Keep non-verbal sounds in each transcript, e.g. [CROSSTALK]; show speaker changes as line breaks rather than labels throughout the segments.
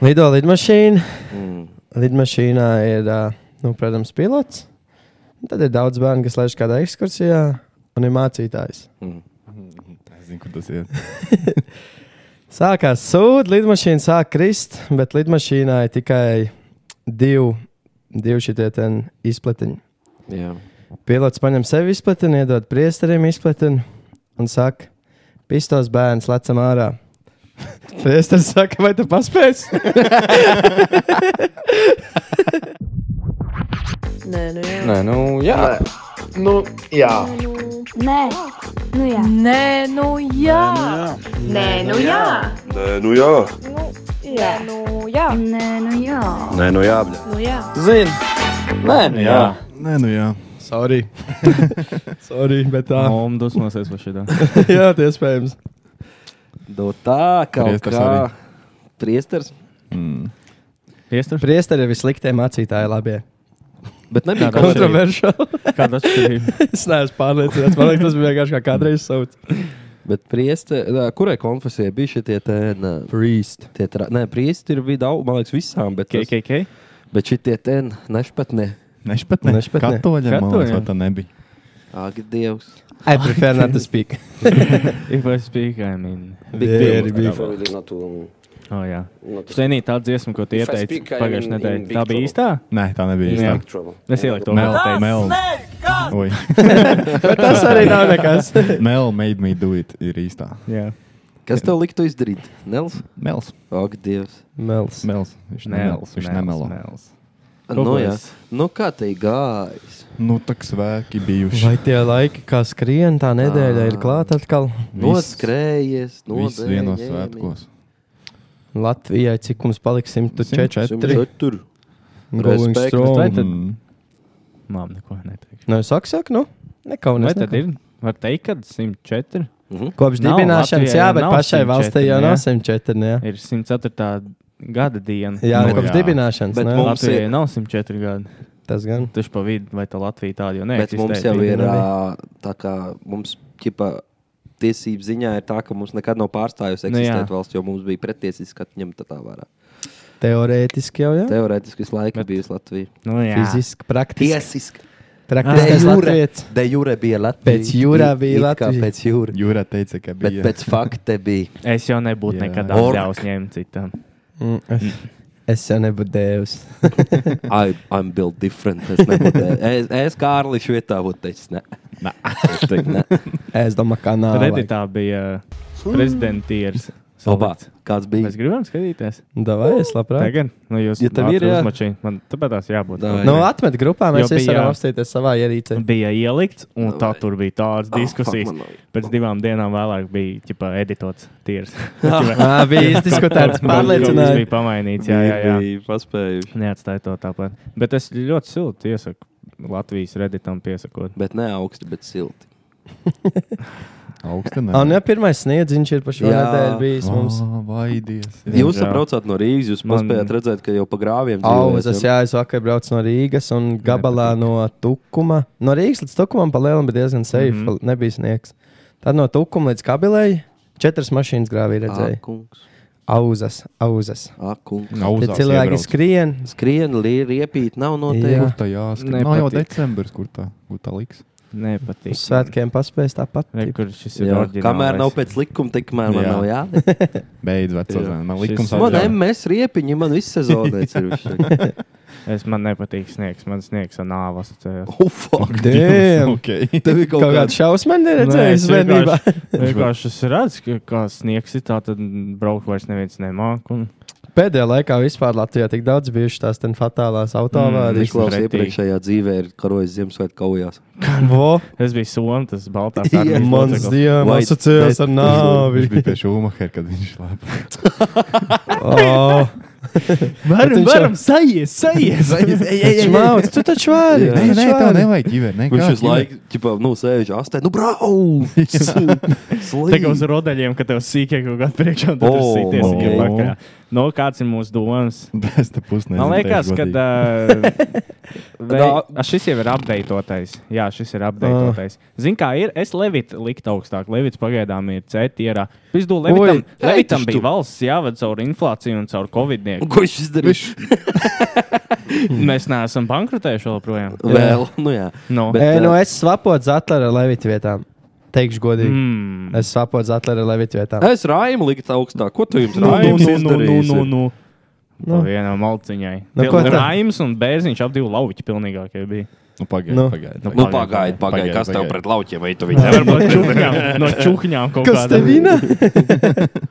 Lido lidmašīna.
Mm,
Lidmašīnā ir, ā, nu, protams, pilots. Un Tad ir daudz bērnu, kas leģz kādā ekskursijā, un ir mācītājs.
mm.
Es zinu, kur tas ir.
Sākās sūdi, lidmašīna sāk krist, bet lidmašīnā ir tikai divi, divi šitie ten izpletiņi.
Jā.
Pilots paņem sevi izplatinu, iedod priesterim izplatinu un saka, pistos bērns, lecam ārā. [LAUGHS] Priesteris saka, vai tu paspēsi?
Nē, nu jā.
Nē, nu, jā.
Nē. Nu, jā.
Nē, nu jā.
Nē, nu jā. Nē, nu jā.
Nē, nu jā,
Jā, nu jā.
Nē, nu jā.
nē, nu jā,
Nu jā.
Zini, nē, nu, jā.
Nē, nu jā.
Sorry. [LAUGHS] Sorry, bet tā.
Mom dusmosies par šitā.
[LAUGHS] Jā, tie iespējams.
Do tā, kaut
Priesters
kā.
arī.
Priesters.
Mm.
Piestur?
Priesteri ir visliktie mācītāji, labie. [LAUGHS]
Bet nebija
Kāda
kaut kā.
Kontroversiāli.
Kāda atšķirība?
es neesmu pārliecināts. Man liekas, tas bija vienkārši kā kādreiz sauc.
Bet prieste, nā, kurai konfesijai bija šie tie tēni?
Priest.
Tie tra... Nē, priesti ir bija daudz, man liekas, visām, bet, tas...
KKK?
bet šie tie tēni nešpatnē.
Nešpatnē.
Nešpatnē.
Katoļiem, man liekas,
Katoļiem.
vai tā nebija.
Ak, Dievs.
I prefer not to speak.
If I speak, I mean.
Very [LAUGHS] big.
Oh, jā. Senī tā dziesma, ko tu
If I
ieteici
speak, I'm
pagājušajā
in- in
nedēļā.
big
Tā bija
trouble.
īstā?
Nē, tā nebija.
Jā.
īstā.
Es ieliku to
Mel,
vēl.
mel. Ui.
Bet tas arī nav [LAUGHS] nekas.
Mel made me do it ir īstā.
Jā.
Kas tev liktu izdarīt? Nels?
Mels.
Ak, Dievs.
Mels.
Mels. Viņš nemels. Viņš nemelo.
Nu, jā.
Kāpēc?
Nu, kā te gājis?
Nu, tā kā svēki bijuši.
Vai tie laiki, kā skrien, tā nedēļa
Ah.
ir klāta atkal?
Noskrējies,
Viss vienos
nodēļ,
svētkos.
Latvijai cik mums paliks 104?
ņēmies. Simt tur.
Rolling
Respekt.
Strong.
Vai tad-
Mm.
Mām neko neteikšu.
Nu, saka, saka, nu, nekaunīgi.
Vai tad ir? Var teikt, ka 104
Mhm.
Kopš
Nav,
dibināšanas,
Latvijai
jā,
jau
bet
nav
pašai
104,
valstī jau
jā.
nav 104. Jā,
ir 104. gada diena.
jā
Nu,
nu, kopš
jā.
dibināšanas.
Bet
nē.
mums-
Latvijai
ir-
nav 104 gadi.
Tas gan.
Taču pa vidu, vai tā Latvija tāda jau
Bet
neeksistē.
mums jau
bija.
ir ā, tā kā mums ķipa. Tiesību ziņā ir tā, ka mums nekad nav pārstājusi
Nu, jā.
eksistēt nu, valsts, jo mums bija pretiesiski atņemta tā vērā.
Teorētiski jau, jā.
Teorētiski visu laiku
Bet-
bijusi Latvija.
Nu, jā.
Fiziski, praktiski.
Tiesiski.
Praktiskais latviečs.
De jure bija Latvija.
Pēc jūrā bija
It kā
Latvija.
Pēc jūra.
Jūra teica, ka
Bet
bija.
pēc fakta bija.
Es jau nebūtu
Jā.
nekad
Ork.
atļāvis ņemt citam.
Mm, es- Es jau nebūtu devis.
[LAUGHS] I, I'm built different. Es, nebūtu, es, es Kārlis vietā būtu teicis, ne. Es teiktu, ne.
Es domāju, ka nē.
Redditā bija prezidentieris.
Labā, kāds bija?
Mēs gribam skatīties.
Davai, es labprāt.
Tagad, nu, jūs
Ja tev ir, jā.
uzmačījis. Man tāpēc tās jābūt.
Davai.
Nu, atmet grupā, mēs
Jo
visi varam
bija-
apstāties savā ierīcē.
Bija ielikts, un tā
Davai. Ah,
tur bija tādas
Oh,
diskusijas. Pēc divām dienām vēlāk bija ķipa, editots tīrs.
[LAUGHS]
Ķipa,
Jā, Ah, bija izdiskutēts,
Tas
pārliecināts.
bija pamainīts. Jā, jā, jā.
paspējuši.
Neatstāj to tāpat. Bet es ļoti silti iesaku Latvijas redditam piesakot.
Bet ne augsti, bet silti.
augsta
Un jau pirmais sniedziņš ir pa šo
Jā.
nedēļu bijis
Oh.
mums.
Vaidies.
Jā.
Jūs saprotat no Rīgas, jūs
Man-
paspējāt redzēt, ka jau pa grāviem
Auzas, jā, es vakar braucu no Rīgas un gabalā no Tukuma. No Rīgas līdz Tukumam pa lielam, bet diezgan safe, mm
Mhm.
-hmm. nebija sniegs. Tad no Tukuma līdz Kabilei četras mašīnas grāvī redzēja.
Akungs,
Auzas, auzas.
akungs.
Tie cilvēki skrien.
ah, Skrien, li- riepīt, nav
Jā.
noteikti.
Kur tā jāsaka?
Nepatīk.
Nav jau decembris, kur tā, kur tā liks.
Nepatīk.
Uz svētkiem paspējas tāpat.
Re, Kur šis ir
Jā,
oriģināls?
kamēr nav pēc likuma, tikmēr man
Jā.
nav jāliek.
Beidz, vecais.
Jā.
Man likums
Šis-
Man
atļauj.
MS riepiņi, man viss sezonēts ir.
[LAUGHS]
viņš.
Es man nepatīk sniegs. Man sniegs ar nāvu asociējās.
Ufa!
[LAUGHS]
Damn!
Ok.
Tev ir kaut
Kaut kāds
kāds
šausmas neredzējis bērnībā.
[LAUGHS] vienkārši es redzu, ka kā sniegs ir tā, tad braukt vairs neviens nemāk. Un...
[LAUGHS] Pēdējā laikā vispār Latvijā tik daudz bijušas tās ten fatālās
Mm,
autovārijas.
Niklaus.
Niklaus
pretī.
iepriekšējā dzīvē ir karojis Ziemassvētku kaujās.
Vo,
Es biju somu,
[LAUGHS]
tas baltā
Jā,
armijas
mans
loceklis.
dievs,
Vai-
asociējās ar
Viņš
nāvi. [LAUGHS]
bija pie Šumahera, kad viņš slēpa.
Oh.
Varam,
Bet viņš
varam, sajies, sajies! [LAUGHS]
Taču Mauds, tu taču vari.
Jā.
Nē,
tu
nē,
taču
tā
vari.
nevajag ģivēt. Nē,
Viņš
kā
uz laiku, tipā, nu, sēž astē, nu,
[LAUGHS]
brau!
Tā kā uz
Slikti!
rotaļiem, ka tev sīkā kaut kāda priekšā, un tad
Oh,
oh, sīties
man.
oh. Nu, kāds ir mūsu domas?
[LAUGHS] Es te pusnē.
Man liekas, ka uh, vei...
No.
A, šis jau ir apdeitotais. Jā, šis ir apdeitotais. Zini, kā ir? Es Levitu liktu augstāk. Levits pagaidām ir cēlā. Pizdu, Levitam,
Oi,
Levitam
ej, tu.
bija valsts jāved cauri inflācijai un cauri
Un
covidnieku.
Ko viņš izdarīja?
Mēs neesam bankrotējuši joprojām.
[LAUGHS] Vēl, nu jā.
Nu.
Bet,
Ē,
eh,
nu es svapotu Zetlera Levita vietām. Teikšu godīgi. Mm.
Mm.
Es svapotu Zetlera Levita vietām.
Es rāmu liktu augstāk. Ko tu jums
Nu, nu,
rāmi?
nu, nu, nu, nu, nu. Nu.
Nu.
Vienā malciņā.
Nu,
Nu,
ko tā?
Raims un Bērziņš ap divu lauviņu pilnīgākie bija.
Nu, pagaidi,
Nu.
pagaidi.
Nu, pagaidi,
pagaidi.
pagaidi.
Pagaidi,
Kas tev
pagaidi.
pret lauķiem vai tu [LAUGHS] viņu?
Nevar būt čuhņām, no čūhņām kaut
Kas
kāda.
te vina?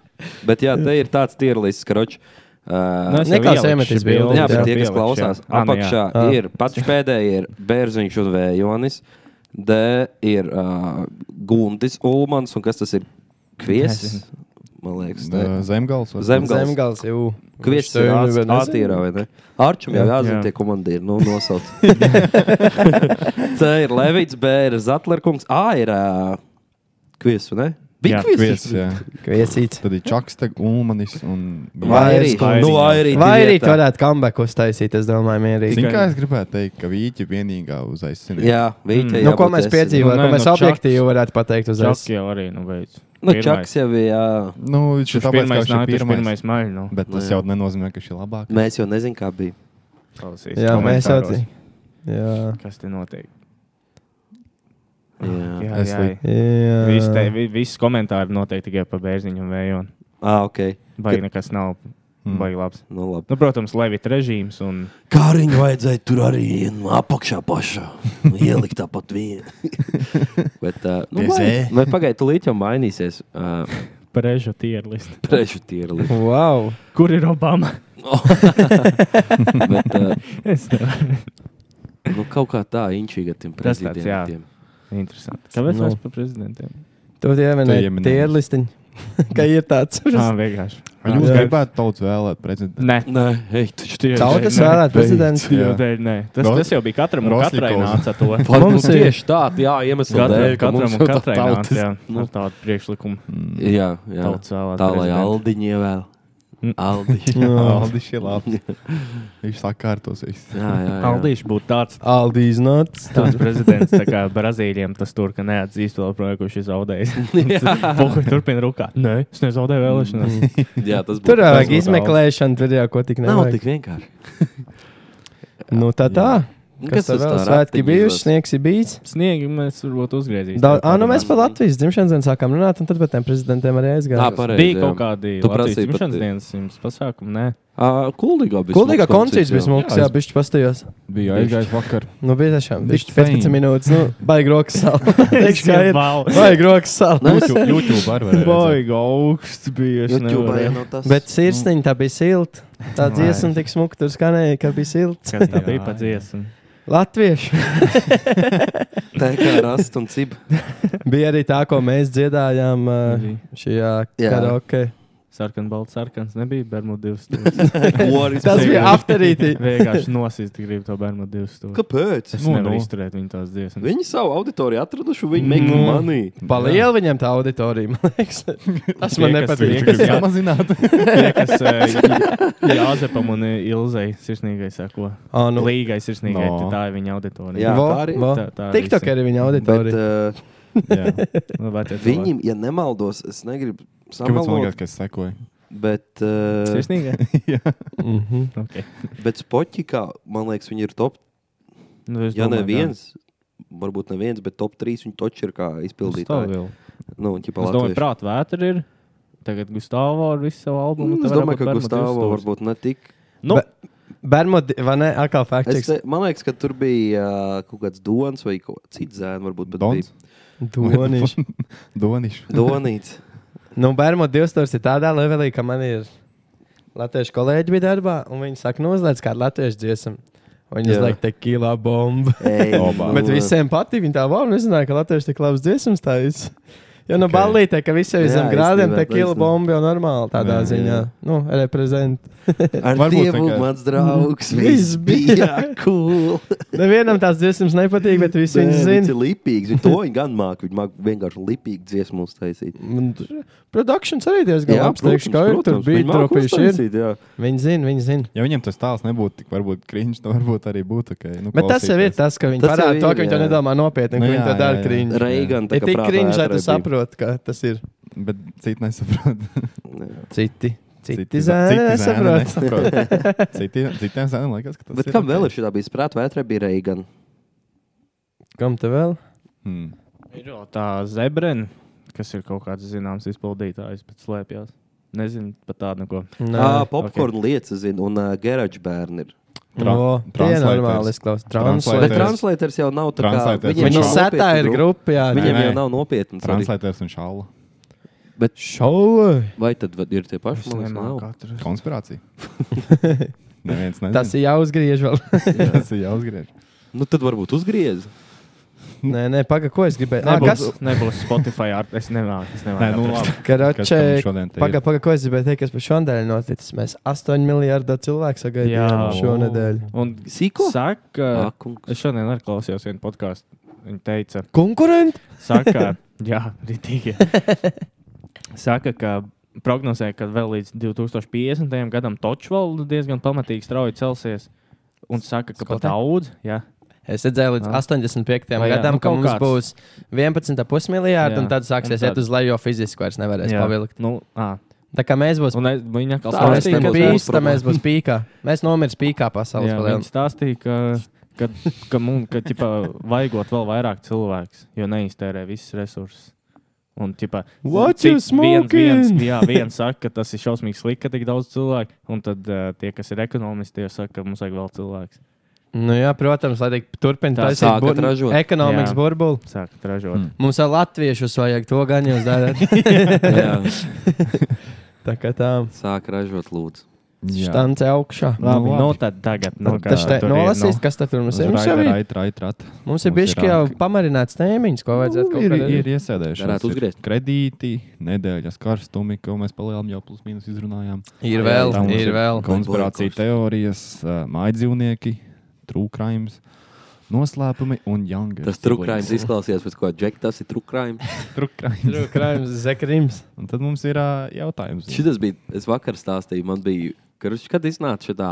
Bet jā, te ir tāds tierlis, karoči.
Nu,
Uh,
jau Neklausies iemetis bildi,
Jā, bet
Jā,
tie, kas klausās, apakšā
Ah.
ir pats pēdējais, ir Bērziņš un Vējonis. D ir uh, Guntis Ulmans, un kas tas ir? Kviesis, man liekas. ne?
Uh, Zemgals. vai-
Zemgals.
Zemgals jau.
Kviesis ir ātrāk, vai ne? Arčam jau jāzina
Jā.
tie komandīri, nu
[LAUGHS]
nosauc. [LAUGHS] C ir Levits, B ir Zatlerkungs, A ir uh, Kviesis, vai ne? Bija
Jā,
Kvies,
Kviesis.
jā.
Kviesīts.
Tad ir Čaksteg, Ulmanis un...
Vai-
Vai arī
Vai-
nu, vai arī
Vai arī
ir
tu
tā.
varētu comeback uztaisīt, es domāju, mierīgi.
Zini, kā es gribētu teikt, ka Vīķi vienīgā uz aizsardzību.
Jā, viņa
Nu, ko mēs
Nu,
piedzīvojam,
nē,
ko mēs
nu,
objektīvi varētu pateikt uz
Čaks
aizsardzību?
jau arī, nu, beidz.
Nu,
Pirmais.
Čaks jau bija.
Nu, viņš ir tāpēc,
Viņš
ka
pirmais
viņš ir
nāk, viņš
pirmais.
pirmais maļ, nu.
Bet tas
Jā.
jau nenozīmē, ka viņš ir labāk.
Mēs jau nezinām, kā bija.
Jā,
Klausīs
mēs jau
komentāros,
tādā. Jā,
Kas te notiek?
Jā, jā.
Ah, Jā,
Es
jā,
li-
jā.
jā.
Visi te- vi- Visi komentāri notiek tikai par bērziņu un vēju.
Ah, ok.
Vai nekas nav
Mm.
baigi labs.
Nu, labi.
Nu, protams, Levita režīms un
Kā riņķi vajadzēja tur arī ienu apakšā pašā. Nu, Ielikt tāpat
[LAUGHS]
vienu. Bet, uh, nu,
Dezē.
E.
vai, vai pagaidi, tu līdzi jau mainīsies.
[LAUGHS]
Uh,
prežu tierlist.
Prešu tīrli. [LAUGHS]
Wow!
Kur ir Obama? [LAUGHS]
Bet, uh,
Es nevaru.
nu, kaut kā tā inčīga tiem
Tas tāds, jā.
prezidentiem.
Interesanti. Kāpēc
Nu.
mēs par prezidentiem?
Tu ieminēji
ieminēji.
tierlistiņu, [LAUGHS] ka ir tāds.
Jā, vienkārši.
Vai jūs
Jā.
gribētu daudz vēlēt prezidentu?
Nē.
Nē, hei, tu šķiet.
Tautas
Nē,
vēlēt
beidz.
prezidents.
Dieva
Jā.
dēļ, nē. Tas,
Ros-
tas jau bija katram un katrai
Roslikovs.
nāca to.
[LAUGHS] Mums
Mums
ir
ir-
tieši tā, jā, iemesls
Katram,
dēļ, ka
katram
mums
un
ir tā
katrai nāca
tautas.
jā, ar tādu priekšlikumu.
Jā, jā.
Tautas vēlēt
Tā lai
prezidentu.
Aldiņi vēl.
Mm.
Aldiņi.
Jā, [LAUGHS] Aldis ir
[LAUGHS]
labi. Viņš sakārtos visu.
[LAUGHS] Jā, jā, jā.
Aldīši būtu tāds,
Aldīs nots.
[LAUGHS] tāds prezidents, tā kā Brazīlijam tas tur, ka neatzīst vēl projektu, kurš ir
[LAUGHS]
zaudējis. [LAUGHS] Pohuļ turpina rukāt. Nē, es nezaudēju vēlēšanas.
Jā, tas
Tur jau
būtu-
vajag izmeklēšanu, tur jau ko tik
Nav tik
nevajag.
vienkārši.
Nu, tā tā. Kas tas
tas
vēl?
tā
Svētki
ratiņi
bijuši,
izlaiž?
sniegs ir bijis.
[LAUGHS] Sniegi mēs varbūt uzgriezīsim.
Daudz, ah, nu mēs par Latvijas dzimšanas dienu sākām runāt, un tad par tiem prezidentiem arī
Tā,
aizgājām.
pareizi.
Bija kaut kādi
Tu
Latvijas
prasīji par
dzimšanas
tie-
dienas jums pasākumi. Nē,
Ā, Kuldīgā bija.
Kultīgā
smags
koncerts bija
jā.
smūgs, jā, bišķi pastījos.
Bija aizgājis vakar.
Nu, bija tiešām
Viņš
bišķi 15
fein.
minūtes, nu, baigi rokas sāla. Teikšu, kā ir.
Vau.
Baigi rokas sāla.
YouTube, YouTube var
[LAUGHS]
redzēt.
Baigi augsts bija. es
YouTube
nevarēju.
jau nav nu tas. [LAUGHS]
Bet sirsniņa tā bija silta. Tā
Vai.
dziesma tik smuka tur skanēja, ka bija silta.
Kas tā bija pa dziesmu?
Latvieši [LAUGHS]
tā kā rast un cib.
bija arī tā, ko mēs dziedājām uh,
Bija.
šajā
Jā.
karaoke.
Sarkan, balts, sarkans nebija Bermudu divas.
[LAUGHS] Oris.
Tas bija
[LAUGHS]
afterīti.
Vienkārši nosist gribu to Bermudu divas.
Kāpēc?
Es
Nu,
nevaru
nu.
izturēt viņa tās dziesmas.
Viņi savu auditoriju atraduši, un viņi make
Nu.
money.
Palielināja viņam tā auditorija, man liekas. Tas
Tie,
man
kas- tie,
nepatīk.
kas-
Gribu samazināt.
Tie, kas eh, Jāzepam un eh, Ilzai sirsnīgai sako.
[LAUGHS] Ah, nu,
Līgai sirsnīgai,
No.
tā ir viņa auditorija.
Jā,
Vo,
tā arī-
vo.
Tā- tā
TikTok
visi.
arī viņa
Bet
auditorija.
uh,
Jā.
Nu, vai tie cilvēki?
viņiem, ja nemaldos, es negribu
Kāpēc man
samalot,
liekas, ka es
[LAUGHS]
sekoju?
bet, uh, [LAUGHS]
Sirsnīgai?
Jā.
Mhm.
Okay.
bet Spotify, man liekas, viņi ir top.
Nu, es
Ja ne
domāju,
viens, varbūt neviens, bet top 3 viņi toči ir kā izpildītāji.
Gustavs.
Nu, ķipa,
Es domāju,
latvieši.
prāt, vētra ir. Tagad Gustavs ar visu savu albumu.
Mm,
nu, tad
Es
varētu
domāju,
būt
ka
Bermudu
Gustavs
divstūris.
varbūt ne tik
Nu,
Be- Bermuda, vai ne? Atkal
Es,
faktiski.
te- man liekas, ka tur bija uh, kaut kāds dons vai kaut kāds cits zēns, varbūt pat
Dons?
bija
Doniš.
[LAUGHS] Doniš.
donīts.
Nu, Bermuda divstūrs ir tādā līmenī, ka man ir latviešu kolēģi bija darbā, un viņi saka, noslēdz kādu latviešu dziesmu. Un Viņi
Jā.
uzliek tekīlā bombu.
Ei,
Oba.
nu, Bet visiem patīk, viņi tā vēl nezināja, ka latvieši tik labs dziesmas tā ir. Jo nu
Ok.
ballītē, ka visiem ir
Jā,
zem grādiem,
īstenībā,
tā kila
taisnība.
bomba jau normāli tādā
Jā,
ziņā.
jā.
Nu, reprezent.
Ar
Varbūt
Dievu,
vienkārši-
mans draugs,
Viss
viss bija
bija.
cool.
Nevienam tās dziesmas nepatīk, bet visi viņu
Viņš
zina.
ir lipīgs. Viņš to viņa gan māk. Viņš māk vienkārši lipīgi dziesmu uztaisīt.
Un Produktions arī diezgan labs. Teikšu, ka ir tur bija tropīši. Viņi zina, viņi zina.
Ja viņam tas tāls nebūtu tik varbūt kriņš, tad varbūt arī būtu ok. Nu,
Bet tas jau ir tas, ka viņi
Tas jau
parāda to,
ir,
ka viņi to
jā.
nedomā nopietni,
Nu
ka viņi
jā,
to dara
jā, jā.
krīņš.
Reigan, Mm. tā
Ir tik krīņš, lai tu
saproti.
saproti, ka tas ir
Bet citi nesaprot.
citi. Citi
zēni
zēni, es saprotu.
nesaprot.
[LAUGHS]
Citi- Citiem zēniem liekas, ka tas
Bet
ir.
kam
ok.
vēl ir šī tā bija? Sprāt, vētra bija Reigan.
Kam te vēl?
Hmm.
Ir jau tā zebrena, kas ir kaut kāds zināms izpildītājs, bet slēpjas. Nezinu pat tādu neko.
Ā, Popkorn lietas zina un ā, garage bērni ir.
Tra-
No, tie
translators.
normāli izklausās.
Translators.
Bet
Translators.
translators jau nav tā kā.
Translators
viņiem
viņš
Viņu
nav
nav
setā
nopietna
ir grupa, jā.
Viņam
Nē,
jau
nē.
nav nopietnas. arī.
Translators un šāla.
Šauli!
Vai tad vad- ir tie paši? Man liekas, nav.
Katrs.
[LAUGHS]
Konspirācija. Neviens nezina.
Tas ir jāuzgriež vēl. [LAUGHS]
tas ir jāuzgriež.
Nu tad varbūt uzgriez.
nē, nē, pagaidi, ko es gribēju. Nē,
Nebūs,
kas?
nebūs Spotify ar es nemāku. Es nemāku.
Nē, nu labi. Kas
Karačē,
tam šodien te ir?
pagaidi, paga, ko es gribēju teikt, kas par šo nedēļu noticis. Mēs 8 miljardu cilvēku
Jā.
sagaidījām šonadēļ.
Un
Siko?
saka,
Ā, kungs. [LAUGHS]
es šodien arī klausījos vienu podkāstu. Viņa teica,
Konkurenti?
[LAUGHS]
saka, jā, ritīgi. Saka, ka prognozē, ka vēl līdz 2050. gadam Točvalda diezgan pamatīgi strauji celsies. Un saka, ka pat
Skotē?
daudz. Jā.
Es redzēju, līdz
Jā.
85.
Nu, jā,
gadam,
nu,
ka
kaut
mums
kāds.
būs 11,5 miljardi,
Jā.
un tad
Un
sāksies
tad-
iet uz leju, jo fiziski vairs nevarēs
Jā.
pavilkt.
Nu, ā.
Tā kā mēs būsim.
un es- viņa atkal
Tā,
Mēs
stāstīja,
stāstīja, ka
būsim
nebūs mūsu
bija.
pīkā, mēs būsim pīkā. Mēs nomirsim pīkā pasaules
Jā,
līmenī.
viņa stāstīja, ka, ka, ka mums ka, ķipa, vajagot vēl vairāk cilvēku, jo neiztērē visas resursus. Un, ķipa,
What you
cik viens, viens,
smoking?
jā, viens saka, ka tas ir šausmīgi slikti, ka tik daudz cilvēku, un tad uh, tie, kas ir ekonomisti, tie saka, ka mums vajag vēl cilvēks.
Nu, jā, protams, lai
Tā
turpinātu
sākat ražot.
ekonomikas
Jā.
burbuli.
Sākat ražot.
Hmm.
Mm.
Mums vēl latviešus vajag to gan jūs darāt.
[LAUGHS]
Jā,
tā kā tā.
sāk ražot lūdzu.
Štance augšā.
Labi,
Nu,
nu,
labi.
tad tagad. Nu, kā
Tas te
tur ir,
nolasīs,
nu?
kas tad tur mums ir. Mums jau
Rait,
ir,
rait, rait, rait.
mums ir
Mums ir
bišķi jau
rāk.
pamarināts tēmiņš, ko
Nu,
vajadzētu kaut
Nu, ir,
kādā
ir
veidā.
iesēdējušies.
Varētu uzgriezt.
Kredīti, nedēļas karstumi, ko mēs palielinām jau plus mīnus izrunājām.
Ir vēl,
Tā mums
ir vēl.
Konspirācija teorijas, mājdzīvnieki, trūkrājums, noslēpumi un jangas.
Tas trukrājums izklausījās pēc kā džekta, tas ir trukrājums.
trūkrājums.
Krājums, Zekrims.
Un tad mums ir ā, jautājums.
Šis bija, es vakar stāstīju, man bija, karuši, kad iznāca šī tā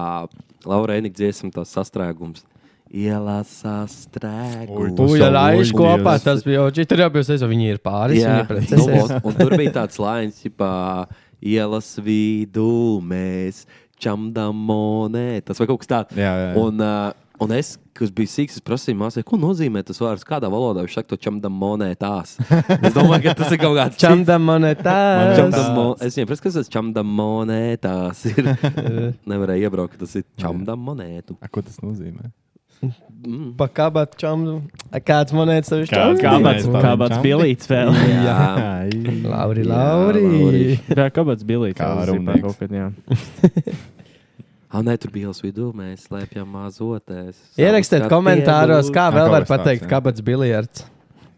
Laurēnika dziesma, tas sastrēgums. Ielā sastrēgums.
Ui,
Puja
savu
laiš
loģu,
kopā,
Dievs.
tas bija jau, tur jau bija, es jau viņi ir pāris, viņi ir
nu,
precēsies.
un- un tur bija tāds laiņas, kā ielas vidū mēs čamdam monētas vai kaut kas tāds.
Jā, jā, jā.
Un, uh, un es, kas bija sīgs, es prasīju māsai, ko nozīmē tas vārds, kādā valodā viņš saka to čamdam monētās. Es domāju,
[LAUGHS]
ka tas ir kaut kāds cits-
Čamda monetā.
Čamdam mo- Es nezinu, kas tas čamdam monētās ir.
eh,
Nevarēju iebraukt, ka tas ir čamdam monētu. Mm.
A, ko tas nozīmē?
Pa kabat čamdu. Kāds monēts tev ir čamdu?
Kāds
Kāpēc?
Nē, tā
Kāpēc
viņam.
bilīts vēl? [LAUGHS]
Jā,
Ai.
Lauri,
Jā,
Lauri.
Lauri.
Jā, kāpēc bilīts?
Kā
vēl zipā
runīgs.
kaut kad, jā.
ah, nē, tur bija ielas vidū, mēs slēpjam mazotēs.
Ierakstiet
Savu
komentāros,
skatienu.
kā vēl var
Kabats tāds,
pateikt
jā.
kabats biljards.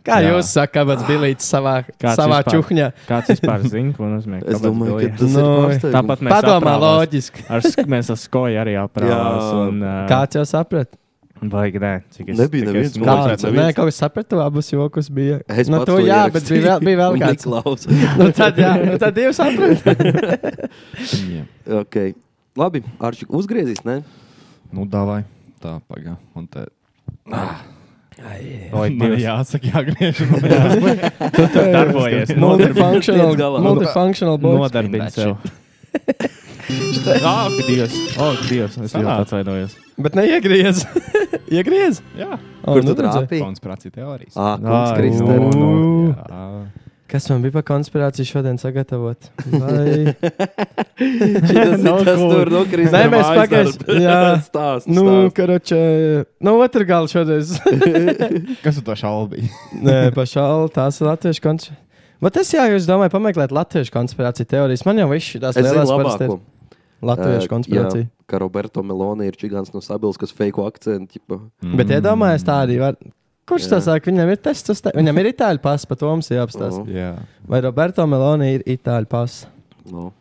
Kā
Jā.
jūs sakāt, kabats biljards savā,
Kāds
savā
vispār?
čuhņā?
Kāds vispār zina, ko nozīmē?
Es
kabatas
domāju, ka
bilīts?
tas
Nu,
ir pārsteigums.
Tāpat mēs
Padomā
aprāvās.
loģiski.
Ar, sk- mēs ar skoju arī
Jā.
aprāpām.
Kāds jau saprata?
Vai nē, cik es
Nebija
cik
neviens
es-
Kāds?
Kāds?
neviens.
Nē, kaut kas saprata, abus jokus bija.
Es
nu,
pats
tu,
to
jā, bet bija vēl, bija vēl kāds.
Klaus.
Nu, tad, jā, nu, tad jūs saprotat.
Jā.
okay. Labi, Arčik, uzgriezīs, ne?
Nu, dāvāj. Tā, pagā. Man te...
Ah.
Oi,
Man
Dievs.
jāsaka, jāgriež. man
[LAUGHS]
jāsaka.
Darbojies,
Multifunctional,
Tiec galā.
multifunctional boys.
nodarbina sev. Ak, Dievs! Ak, Dievs! Es ļoti
Sanāk.
atvainojos.
Bet neiegriez. [LAUGHS] Iegriez.
Jā.
O,
Kur tu
nu, redzēji.
trāpīji?
Konspirācija teorijas.
Ah, kungs,
Ai,
Kristē.
nu, nu,
Kas man bija par konspirāciju šodien sagatavot? Vai... [LAUGHS]
[LAUGHS] Tas ir
Nav
tas,
cool.
tur nu, no
Nu,
Kristē.
Nē, mēs
[LAUGHS]
pagaist- jā.
Stāsts.
nu,
Nu,
karoče, no otras galas šodien.
Kas tu to šaubi?
[LAUGHS] Nē, pašāli tās ir latviešu konspirācijas. Bet es jā, jūs domājat, pameklēt latviešu konspirāciju teorijas. Man jau viss tās
es zinu
lielās parasti ir
labāko. Eh,
latviešu konspirācija.
jā,
Mm.
Ka Roberto Meloni ir čigāns no Sabils, kas feiku akcentu. ķipa.
Bet iedomājieties, tā arī var. Kurš to saka? Viņam ir tests, uz te... viņam ir itāļu pasta, pat Toms ir jāapstāsta.
Mhm.
Jā,
Vai Roberto Meloni ir itāļu pasta?
No.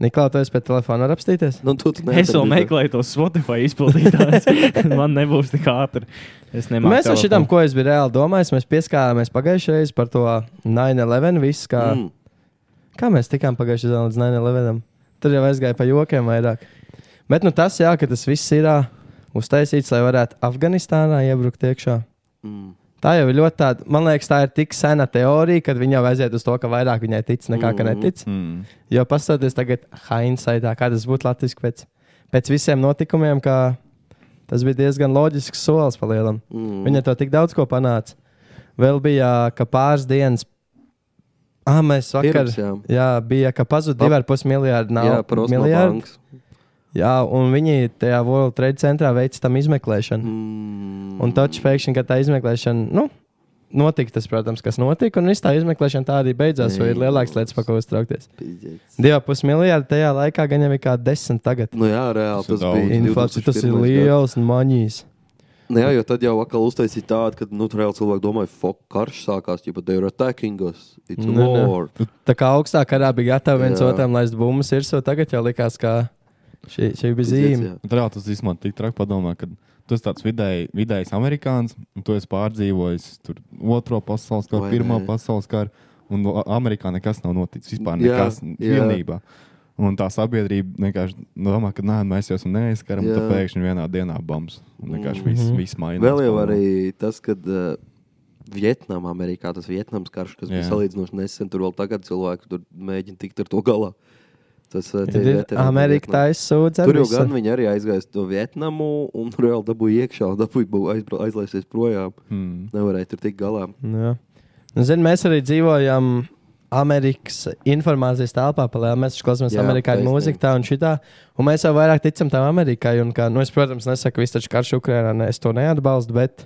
Niklā, tu esi pie telefona var apstīties?
Nu, tu, tu
Es vēl
neatradi, bet-
meklēju to Spotify
[LAUGHS]
izpildītāju. Man nebūs tik ātri. Es nemāku.
Mēs ar šitām, ko es biju reāli domājis, mēs pieskārāmies pagājušajā reizē par to 9-11. visu, Kā, mm.
Mm.
kā mēs tikām pagājušajā reizē līdz 9-11? Tur jau aizgāja pa jokiem vairāk. Bet nu, tas, jā, ka tas viss ir ā, uztaisīts, lai varētu Afganistānā iebrukt iekšā.
Mm.
Tā jau ir ļoti tāda, man liekas, tā ir tik sena teorija, kad viņa jau aiziet uz to, ka vairāk viņai tic nekā ka netic.
mm.
Jo paskatieties, tagad hindsightā, kā tas būtu latviešu pēc, pēc visiem notikumiem, ka tas bija diezgan loģisks solis pa lielam.
Mm.
Viņa to tik daudz ko panāca. Vēl bija, ka pāris dienas, ah, mēs vakar,
Pirms, jā.
jā, bija, ka pazuda
Pa-
2,5 miljardi
Jā, par
naudas.
Osmaņu.
jā, un viņi tajā World Trade centrā veica tam izmeklēšanu.
Mm.
Un taču pēkšņi, kad tā izmeklēšana, nu, notika tas, protams, kas notika, un viss tā izmeklēšana tā arī beidzās, vai ir lielāks lietas, par ko uztraukties.
Piģēts.
2,5 miljardi tajā laikā gan jau ir kā 10 tagad.
Nu jā, reāli
Tas ir
tas
daudz.
bija.
Inflācija tas ir
2001.
liels maņīs.
Nu Jā, jo tad jau atkal uztaisīja tādu, ka, nu, tur reāli cilvēki domāja, fuck, karš sākās, jo they are attacking us. It's a
Nē, nē.
war.
Tā kā augstā karā bija gatava viens
Jā.
otram laist bumbas, ir so tagad jau likās, ka šī, šī bija
Pizdēts,
zīme.
jā.
Un Tad jau tas īstenībā tik traki padomā, ka tu esi tāds vidēji, vidējs amerikānis, un tu esi pārdzīvojis tur otro pasaules karu,
Vai
pirmā
ne?
pasaules karu, un no- Amerikā nekas nav noticis. Vispār
Jā,
nekas
jā.
pilnībā. Un tā sabiedrība vienkārši domā, ka nē, mēs jau esam neaizskaram, un
Jā. Mhm.
tad pēkšņi vienā dienā bums. Un vienkārši viss, viss mainās.
Vēl jau arī tas, ka uh, Vietnamā, Amerikā tas Vietnams karš, kas bija
Jā.
salīdzinoši nesen, tur vēl tagad cilvēki tur mēģina tikt ar to galā. Tas uh, tie
Tad ir
veterāni
Amerika
Vietnamā.
taisa sūdz.
Tur jau gan viņi arī aizgāja uz to Vietnamu, un [LAUGHS] reāli dabūja iekšā, un dabūja bu- aizbra- aizlaisties projām.
Mm.
Nevarēja tur tikt galā.
Jā. Nu, zin, mēs arī dzīvojam Amerikas informācijas telpā, palēl. mēs taču klausāmies
Jā,
amerikāņu
taisnība.
mūziku, tā un šitā. Un mēs jau vairāk ticam tam Amerikai. Un, kā, nu, es, protams, nesaku, ka viss taču karš Ukrajinā, ne, es to neatbalstu, bet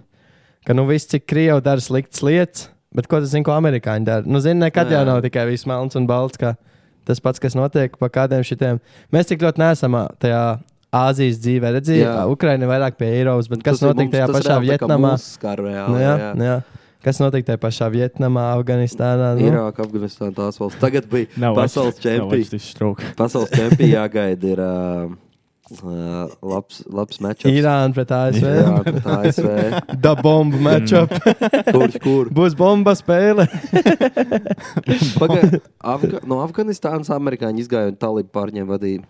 ka nu, viss, cik Krievija dara sliktas lietas, bet ko tas zina, ko amerikāņi dara? Nu, zini, nekad
Jā.
jau nav tikai viss melns un balts. Kā. Tas pats, kas notiek pa kādiem šitiem. Mēs tik ļoti neesam ā, tajā Āzijas dzīvē.
Jā.
Redzījām, Ukraiņa vairāk pie Eiropas, bet kas
Tas ir
notiek
mums-
tajā
tas
pašā
reāli tā kā
Vietnamā?
mūsu skar
Nu,
reāli,
jā,
jā.
nu, jā. Kas notiek tajā pašā Vietnamā, Afganistānā? Nu?
Irāka, Afganistāna, tās valsts. Tagad bija pasaules čempions.
Tas ir strūk.
Pasaules čempionā jāgaida ir uh, uh, labs, labs matčs.
Irāna pret ASV.
tā ASV.
[LAUGHS] Da bomba matchup.
Kurš kur?
Būs bomba spēle.
Paga, Afga, no Afganistānas amerikāņi izgāja un Talibu pārņēma vadību.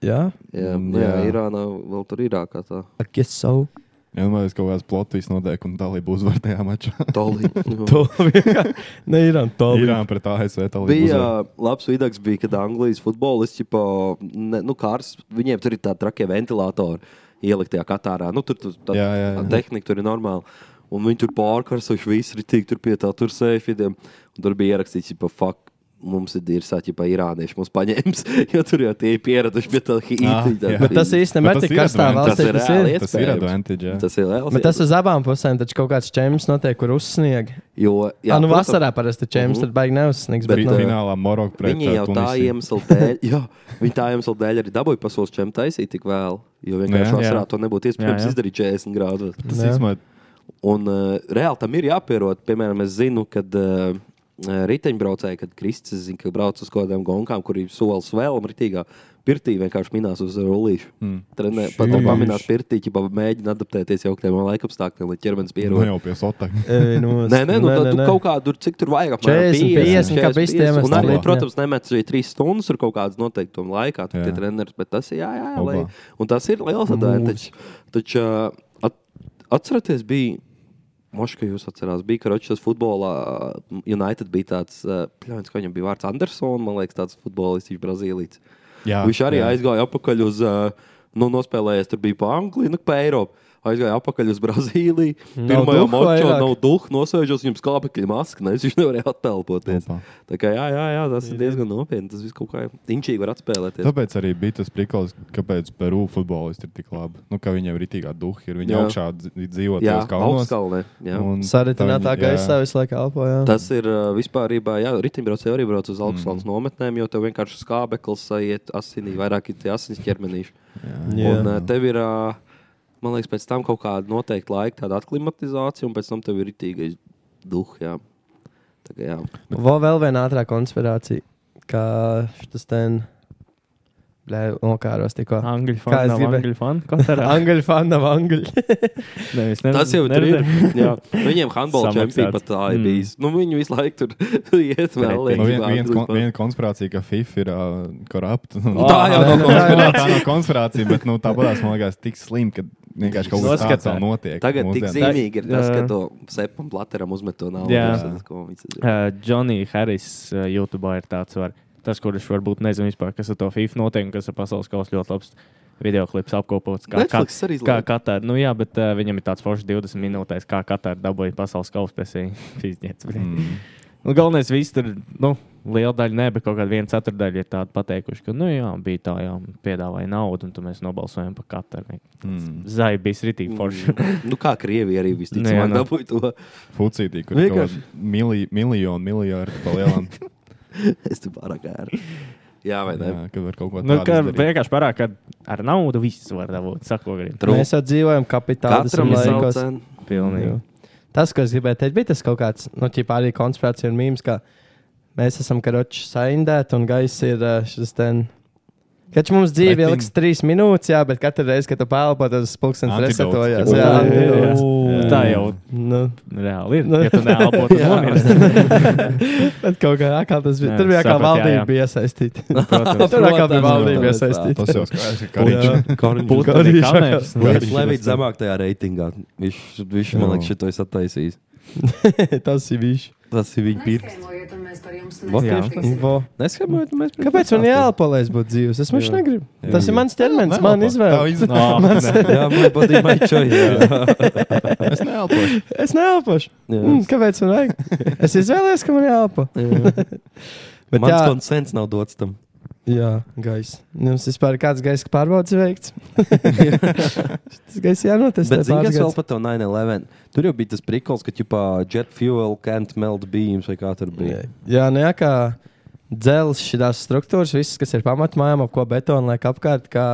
jā,
Jā,
Mm,
nu jā.
jā.
Irānā vēl tur ir kā
[LAUGHS]
tā.
I guess so.
Ja mēs kaut kādas plotis notiek, un dalība uzvar tajā mačā.
Talibu.
To vienkārši. Ne, Irāna, to
[LAUGHS] Irāna pret ASV dalību.
Bija
uzvar.
labs vidaks, bija, kad Anglijas futbolisti, tipo, ne, nu, kārs, viņiem tur ir tādi trakie ventilatori ielikt tajā katārā. Nu, tur tur tā
Jā, jā, jā.
tehnika tur ir normāla. Un viņi tur pārkarsoši visu ritīgi tur pie tā, tur sēfidiem. Un tur bija ierakstīts, ka fuck. Mums ir īrs, ja pa irānieši mums paņems, [LAUGHS] jo tur jau tie ir pieraduši pie tā
Ah,
īstenībā.
jā.
Bet tas īstenībā
Bet tas
netika
ir
karstā valstī.
advantage.
Tas
Tas ir.
ir reāli.
Tas ir
iespējams.
advantage. jā.
Tas ir liels.
Bet tas uz abām pusēm taču kaut kāds čempions notiek, kur uzsnieg.
jo,
Jā, nu
protams,
vasarā parasti čempions
Mhm.
tur baigi neuzsniegs.
Bet
Bet,
Bet,
nu,
uh,
finālā Morokā pret
Viņi jau tā iemesla dēļ, [LAUGHS] jā, viņi tā iemesla dēļ arī dabūja pasaules čempionu taisīt tik vēl. Jo vienkārši
Jā.
vasarā to nebūtu iespējams
Jā, jā.
izdarīt 40 grādos.
Tas
Jā.
īstenībā
Un uh, reāli tam ir jāpierod. Piemēram, es zinu, kad uh, riteņbraucēji, kad Kristis zina, ka brauc uz kaut kādām gonkām, kur ir solis vēl un ritīgā. Pirtī vienkārši minās uz rullīšu. Mm. Trenē, pat
Šīš.
pamanās pirtī, ja mēģina adaptēties jau kādiem laikapstākļiem, lai ķermenis
nu,
pierod.
jau pie
[LAUGHS]
sotak.
ej, nu,
Nē, nē, nu, nē, tu
nē.
nē. kaut kādā tur, cik tur vajag.
40, 50, kā bija stiemes
Un arī,
labāk, jā.
protams, nemēc arī trīs stundas ir kaut kādas noteikti laikā, tur
Jā.
tie treneris, bet tas ir, jā, jā, jā
Labā.
lai, un tas ir liels atdēļ. Taču ā, at, atceraties, bija, moška jūs atcerās, bija Karočas futbolā, ā, United bija tāds, ā, pļauns, ka viņam bija vārds Anderson, man liekas, tāds futbolists, viņš Brazīlīts.
Jā,
Viņš arī
jā.
aizgāja apakaļ uz, ā, nu, nospēlējies tur bija pa Angliju, nu, pa Eiropu. Aizgāja apakaļ uz Brazīliju.
Nav
Pirmā
duha
mačā
vairāk.
nav duha, nosēžos viņam skābekļa maska, nevis viņš nevarēja attēloties.
Opa.
Tā kā jā, jā, jā, tas ir diezgan nopietni. Tas viss kaut kā inčīgi var atspēlēties.
Tāpēc arī bija tas priklis, kāpēc Peru futbolisti ir tik labi. Nu, ka viņiem ir itā duha, ir viņi
Jā.
augšā dzi- dzīvo
jā,
tajos kalnos.
augstskalnē. jā.
un
Saritinātā
tā viņi-
gaisā
jā.
visu laiku elpo. jā.
Tas ir ā, vispār īstenībā, ja riteņbraucēji arī brauc uz augstsalas mm. nometnēm, jo tev vienkārši skābeklis aiziet asinī, vairāk eh, ir tie asins ķermenīši.
Jā.
Jā.
Un ā, tev ir ā, Man liekas, pēc tam kaut kāda noteikta laika tāda aklimatizācija, un pēc tam tev ir rītīgais duh. Jā. Tā kā, jā.
Vēl, vēl viena ātrā konspirācija, kā šis ten nokāros tikko.
Angļu
Kā es
fanu.
gribēju?
Angļu fanu. Ko tā ir?
Angļu fani nav angļi.
Tas jau tur ir. jā. Viņiem handbola
Samaksāts.
čempions pat tā ir
Mm.
bijis. Nu, viņi visu laiku tur [LAUGHS] iet vēl.
Nu, vien-
liek,
viens
vēl,
kon- Viena konspirācija, ka FIFA ir uh, korupta. [LAUGHS] Nu,
Tā jau nav
konspirācija. Tā nav konspirācija, bet nu, tāpat man liekas, tik slim, ka vienkārši kaut kas
Noskatā.
tāds vēl notiek.
Tagad tik
mūsdienās.
zīmīgi ir tas, ka
Jā.
to sepam plateram uzmet to naudu.
Jā.
Tas, ko viņš ir.
Džonija Eh, Harris uh, YouTube ir tāds, var, tas, kurš varbūt nezina vispār, kas ar to FIFA notiek, un kas ir pasaules kausa ļoti labs. Video klips apkopots, kā
Netflix arī
kā
izlaiž.
Katāra. Nu, jā, bet uh, viņam ir tāds foršs 20 minūtēs, kā Katāra dabūja pasaules kausa [LAUGHS] pēcīņķis. Mm. Nu, galvenais, viss tur, nu, liela daļa nē, bet kaut kāda viena ceturdaļa ir tāda pateikuši, ka, nu, jā, bija tā, jā, piedāvāja naudu, un tad mēs nobalsojam par Katāru. Mm. Zai bija rītīgi forši.
Nu, kā Krievija arī
Jā,
visticamāk
nu.
dabūja to. [LAUGHS]
Fucītī, kur ir
Nu, Vienkārši.
milj, miljonu, miljardu pa lielam.
Es tur pārāk gāru. Jā, vai ne?
jā, ka var kaut ko
[LAUGHS] Nu, ka,
tādu. izdarīt.
vienkārši parāda, ka ar naudu viss var dabūt. Sako, arī
Trū.
Mēs jau dzīvojam kapitālismu
Katram ir
laikos.
savs.
[LAUGHS] pilnīgi.
Jā. Tas, ko es gribēju teikt, bija tas kaut kāds, nu, tā arī konspirācija un mīmīms, ka mēs esam karoči saindēti un gaisa ir ā, šis ten. Kad mums dzīve
Pretim.
ilgs trīs minūtes, jā, bet katru reizi, kad tu pelpo, tas pulkstenis
Antidotes.
resetojās.
Jā,
Jā,
jā,
antidotes.
jā. Tā jau
nu,
reāli ir.
Nu.
Ja tu neelpo, tad
[LAUGHS] Jā.
nomirsti.
[LAUGHS] bet kaut kā atkal tas bija.
Jā,
Tur bija kā
sapratu, jā, jā.
valdība bija iesaistīta.
Protams.
[LAUGHS] Tur kā bija
Protams,
valdība
protams, jā.
iesaistīta.
Tas jau skaidrs, ka arī
Kariņš
Putekļi
Garīša.
kameras.
Levits zemāk tajā reitingā. Viņš, viņš man
Jā.
liekas, šito es attaisīju.
[LAUGHS] Tas ir viņš.
Tas ir viņa pirms.
Neskaidrojiet, un mēs par jums
Jā.
nestāstīsim.
Neskaidrojot, mēs
Kāpēc man jāelpo, lai es būtu dzīvs? Es vienkārši negribu. Tas ir mans ķermenis, [LAUGHS]
Neelpo.
man
Tev
izvēle.
izvēle.
[LAUGHS] Nā, nē.
Jā, man patīk my
[LAUGHS]
choice.
[LAUGHS] Es neelpošu.
Es neelpošu. Mm, kāpēc man vajag? Es izvēlējos, ka man jāelpo. Bet
Mans
jā.
konsens nav dots tam.
Jā, gaisa. Jums vispār ir kāds gaisa pārbaudas
[LAUGHS]
veikts? [LAUGHS] Tas gaisa jānotestē.
Bet zini, kas vēl
pāris gadus.
par to 9-11? Tur jau bija tas prikols, ka ķipā jet fuel can't melt beams vai kā tur bija.
Jā, nē, kā dzelzs, šīs struktūras, visas, kas ir pamatmājām, ap ko betonu liek apkārt, kā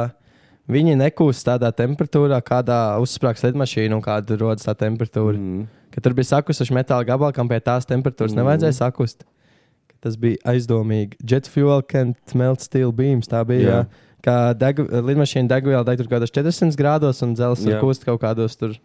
viņi nekūst tādā temperatūrā, kādā uzsprāgst lidmašīna un kāda rodas tā temperatūra. Mm. Ka tur bija sakusuši metāla gabalā, kam pie tās temperatūras mm. nevajadzēja sakust. Ka Tas bija aizdomīgi. Jet fuel can't melt steel beams. Tā bija.
Jā.
Jā. Kā deg, lidmašīna degviela deg tur kaut kādos 40 grādos, un dzelzs
Jā.
tur kūst kaut kādos tur.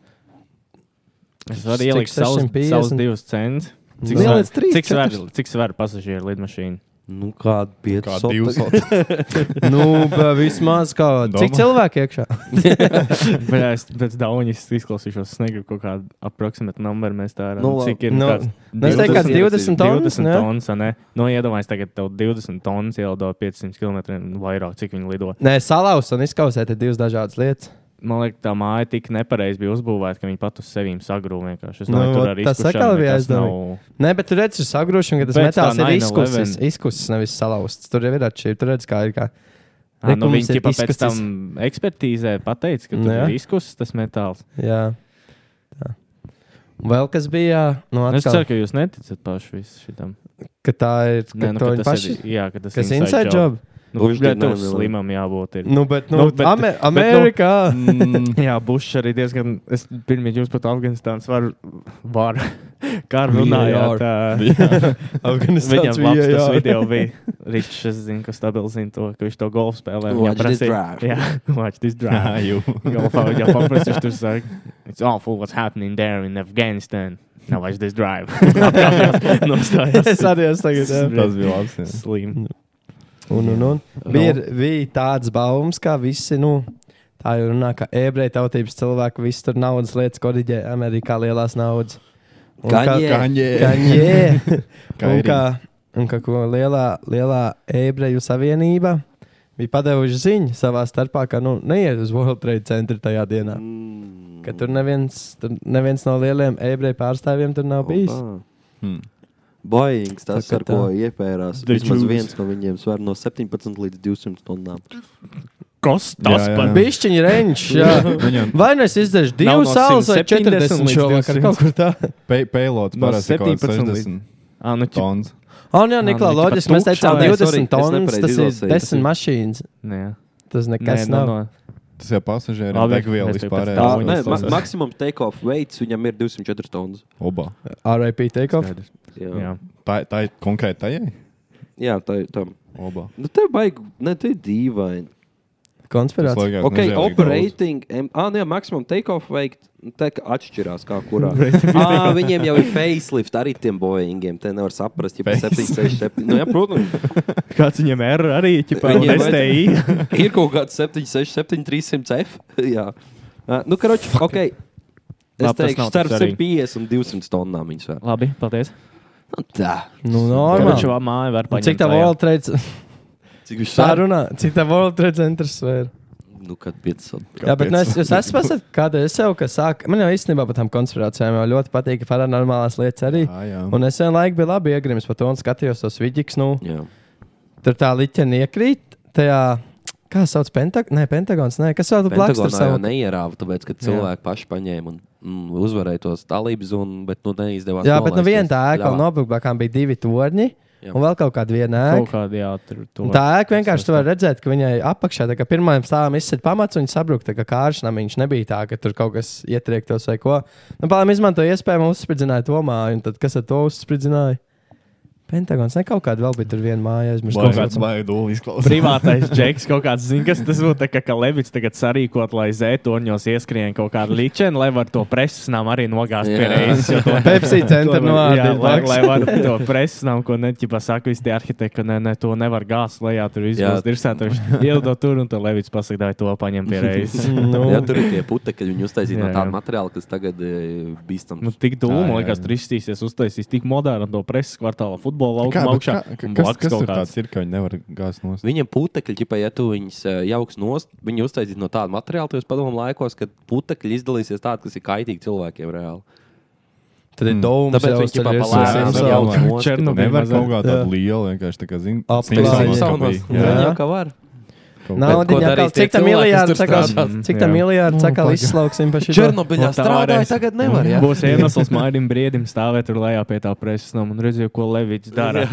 Es varu
Cik
ielikt savus
650?
savus divus centus. Cik
Nu,
svar-
ieliec trīs,
cik svar-
četrus.
cik svar pasažieru lidmašīna?
Nu, kāda bija
Kā
[LAUGHS]
divas otras.
nu, bet vismaz kaut
Domā?
cik cilvēku iekšā.
Bet jā, es pēc dauņas izklausīšos, es negribu kaut kādu approximētu numuru. Mēs tā
Nu,
redzam, cik ir.
Nu,
kāds
nu, es teiktu, kāds 20 tonnas.
20
ne?
tonnas, vai ne? Nu, iedomājieties, tagad tev 20 tonnas ielido 500 km un vairāk, cik viņi lido.
Nē, salauzt un izkausēt ir divas dažādas lietas.
Man liekas, tā māja tik nepareizi bija uzbūvēta, ka viņi pat uz sevīm sagrūvēja vienkārši. Es
Nu,
domāju, tur
vot
arī
tas atkal bija aizdomīgi.
aizdomīgi.
Nē, bet tur redzams, ir sagrūšana, ka tas
Pēc
metāls
tā
ir izkusis.
9/11.
Izkusis, nevis salauzts. Tur jau ir atšķirība. Tur redzams, kā ir. Kā.
Nā, nu,
Likums
viņi
ir
jau pēc
izkustis.
tam ekspertīzē pateica, ka tur
Jā.
ir izkusis tas metāls.
Jā. Tā. Un Vēl kas bija, nu,
Es
atkal,
ceru, ka jūs neticat paši visam.
ka tā ir. Ka
Nē, nu,
to
ka
viņi
tas
paši,
ir. Jā, ka tas
kas ir inside job.
Nu,
Bush
jā,
did
tev
9/11.
slimam jābūt. Ir.
Nu, bet, nu,
Nu,
nu,
bet-
bet, Amer
bet, nu, [LAUGHS]
Amerikā.
Mm,
Jā, Bušs arī diezgan. Es pirms jums pat Afganistānas varu. Var, [LAUGHS] kā
[LAUGHS]
runājāt?
jā.
ā, [LAUGHS] Viņam
Afganistāns
labs tas
jā.
video bija. Rīčs, es zinu, ka stabili zina to, ka viņš to golfu spēlē. Viņam
Watch this
prasīja-
drive.
[LAUGHS] Jā, watch this
[LAUGHS] Jā,
[LAUGHS] drive.
jū.
Golfā jau paprasīšu
[LAUGHS]
tur saka, it's awful what's happening there in Afghanistan. Now watch this [LAUGHS] drive. Nostājās. [LAUGHS]
Es arī esmu tagad. jā.
Tas bija labs. jā.
Slim.
Un, un, un. Bija, bija tāds baumas, ka visi, nu, tā jau runā, ka ebreju tautības cilvēki visu tur naudas lietas koriģē Amerikā lielās naudas. Un
Kanye.
Kaņē.
Kaņē. [LAUGHS] un,
Kairī.
kā, un kā ko lielā, lielā ebreju savienība bija padevuši ziņu savā starpā, ka nu, neiet uz World Trade Center tajā dienā.
Mm.
Ka tur neviens, tur neviens no lieliem ebreju pārstāvjiem tur nav bijis.
[LAUGHS] Hmm.
Boeings, tas,
Tā kā
ar ko
tā.
iepērās,
The
vismaz
Jews.
viens no viņiem sver no 17 līdz 200 tonnām.
Kas
tas Jā, jā, par- jā.
Bišķiņa rančs, jā.
[LAUGHS]
[LAUGHS]
Viņam
Vai nu es izdarīšu
Nav
divus
no
sālus vai
170
40
līdz
šovakar,
200.
kaut kur tā.
pay- payloads
No
parasti ir kaut kāds
17 līdz-
60
[LAUGHS] Ah, nu, ķip.
tons.
Ah, jā,
Nā,
Niklā,
nu,
loģiski.
tāpat
Mēs
tukšā,
teicām,
nē,
20
sorry, es
tonnas.
nepareizi
Tas ir
izlasīju.
10 mašīnas.
Nē,
Tas
nē,
nekas
nu,
nav.
no,
tas jau pasažieriem
Labi,
degviela
mēs tagad
vispār.
pēc
Tā,
Tā,
nē,
viņas
ma
tas-
maksimums take-off weights viņam ir 204 tonnas.
Oba.
RIP takeoff.
Skaidrs.
Jā, jā.
Jā.
Tā, tā ir konkrēti tajai?
jā tā ir tam.
Oba.
Nu, tev baigi, ne, te ir dīvaini.
Tas
Konspirācija.
liekas
Ok,
nežēlīgi daudz.
operating. em- Ah, nē, maksimums take-off veikt. Tā kā atšķirās, kā kurā. ah, viņiem jau ir facelift arī tiem boingiem. Te nevar saprast, ja
Face-
767. Nu, jā, protams.
[LAUGHS] Kāds viņam ir arī ķipā,
Viņiem vajad-
STI?
ir kaut kāds 767, 300 F. Jā, Ah, nu, karoči, ok. Es
Labi, tas
teikšu,
nav
starp
tas arī.
150 un 200 tonnām viņš vēl.
[LAUGHS] Labi, paldies.
Tā.
Nu,
Kurš
normāli.
jau māju var
Un
paņemt?
Cik tā
tajā?
World Trade Center?
Cik viņš
Tā
sāra?
runā, cik tā World Trade Center svēra.
Nu, kad 500.
Jā, bet nu, es, jūs esat pasakājis, kāda es jau ka sāku. Man jau īstenībā par tām konspirācijām jau ļoti patīk paranormālās lietas arī.
Jā, jā.
Un es vienlaikus biju labi iegrimis par to un skatījos tos vidīks. Nu,
Jā.
tur tā liķene iekrīt tajā, kā sauc Pentag nē, Pentagons. Nē, kas sauc
Pentagonā
plaksters
jau
Nu, savu?
neierāva, tāpēc, ka cilvēki paši paņēma un mm, uzvarēja tos talības, un, bet nu, neizdevās.
Jā, bet nu viena tā
nolaisties.
ēka vēl
Ļāvā.
nobrukbākām bija divi torņi
Jā.
un vēl kaut kāda viena
Kaut
ēka.
kādā jā, tur
Un
tur.
Tā ēka vienkārši tur var redzēt, ka viņai apakšā tā kā pirmajam stāvam izsver pamats, un viņa sabrukta, ka kāršnam viņš nebija tā, ka tur kaut kas ietriektos vai ko. Nu, Pāvām izmantoja iespēju mums uzspridzināja to māju, un tad kas ar to uzspridzināja? Pentagons, ne kaut kāda vēl bija tur viena māja aizmirst.
Kaut
[LAUGHS]
kāds baidūlis klausās.
[LAUGHS]
Privātais džeks kaut kāds zina, kas tas būtu. tā Kā, ka Levits tagad sarīkot, lai zētoņos ieskrien kaut kādu līčenu, lai var to presnām arī nogāzt pie
Jā.
reizes. jo [LAUGHS] to-
[LAUGHS]
Pepsi centra
to var- jā, Lai, lai
novārda.
var to presnām, ko neķipa saka visi tie arhitekti, ka ne, ne, to nevar gāzt lejā, tur
Jā.
izgāzt dirsēta. Viņš ielido tur un tad Levits pasakdāja to paņem pie reizes.
[LAUGHS]
Nu,
Jā, tur ir tie putekļi, kad viņi uztaisīja no
Jā,
tāda
jā.
materiāla, kas tagad ir bīstams.
Nu, tik
Jā,
dūmu,
jā,
liekas,
jā.
tur izstīsies, uztaisīs tik modernu to preses kvartāla futbola
Kā,
laukumu
bet
augšā.
kā-
un
Kas,
blakus
kas
kaut
tur
kāds-
tāds ir, ka viņi nevar gāzt nost?
Viņam putekļi, ķipa, ja tu viņus eh, jauks nost, viņi uztaisīs no tāda materiāla, tad es padomu laikos, kad putekļi izdalīsies tādi, kas ir kaitīgi cilvēkiem reāli.
Tad ir
Mm.
doma,
Tāpēc viņš ķipā palēnām
Simpsons.
jauks nost.
Černobiļ.
ķipa.
Nevar
mazā-
kaut kā tādu lielu, vienkārši tā kā zina.
Apgleznota.
Simpsonos.
Jā.
Jā, jau kā var.
Nav
Bet ko
diņā,
darīs tie
cik tā
cilvēki, kas
miljārdu
tur
sakās,
strādā? Mm.
cik tā
Jā.
miljārdu
Nu,
sakās
pagaid.
izslauksim pa šo.
Černobiļā
Un tā
strādāja,
varēs.
tagad nevar. jā?
Būs iemesls Maidim Briedim stāvēt tur lejā pie tā preses nama un redzēt, ko Levits dara.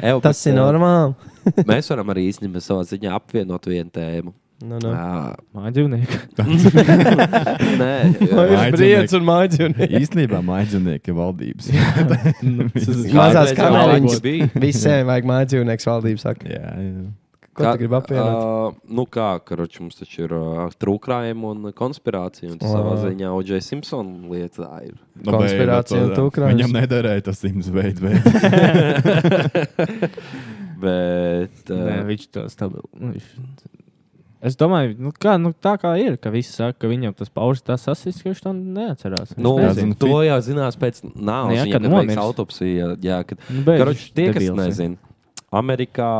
Evo,
Tas
bet,
ir
eh,
normāli.
Mēs varam arī īstenībā savā ziņā apvienot vienu tēmu.
Nu, nu. [LAUGHS]
Ā,
Mājdzīvnieki.
Nē,
Ir
Mājdzīvnieki.
briedz un mājdzīvnieki.
[LAUGHS] Īstenībā maģinieki ir valdības.
Mazās
Kādreiz
kamerās
Alans bija.
Visiem vajag mājas dzīvnieks valdības saka.
jā, jā.
Ko tu gribi apvienot?
Uh, nu kā, karoči, mums taču ir uh, trūkrājumi un konspirācija. Un tas
Ā.
savā ziņā O.J. Simpsona lietā
[LAUGHS]
ir.
Nu, beidz,
Konspirācija
bet,
un tu, Kraus.
Viņam nederēja tas simts veids,
[LAUGHS]
bet
Bet,
Nē,
uh,
viņš to stabilu. Viņš... Es domāju, nu kā, nu tā kā ir, ka visi saka, ka viņam tas paužas tā sasis, ka viņš to neatcerās. Viņš
nu,
nezina.
nezinu.
to jau zinās pēc nāves.
Nu, jā,
Viņam
kad
kad veiks
nomirs.
autopsija. Jā, kad...
Nu, beidz,
Karoči, tie, kas
debils, jā.
nezina, Amerikā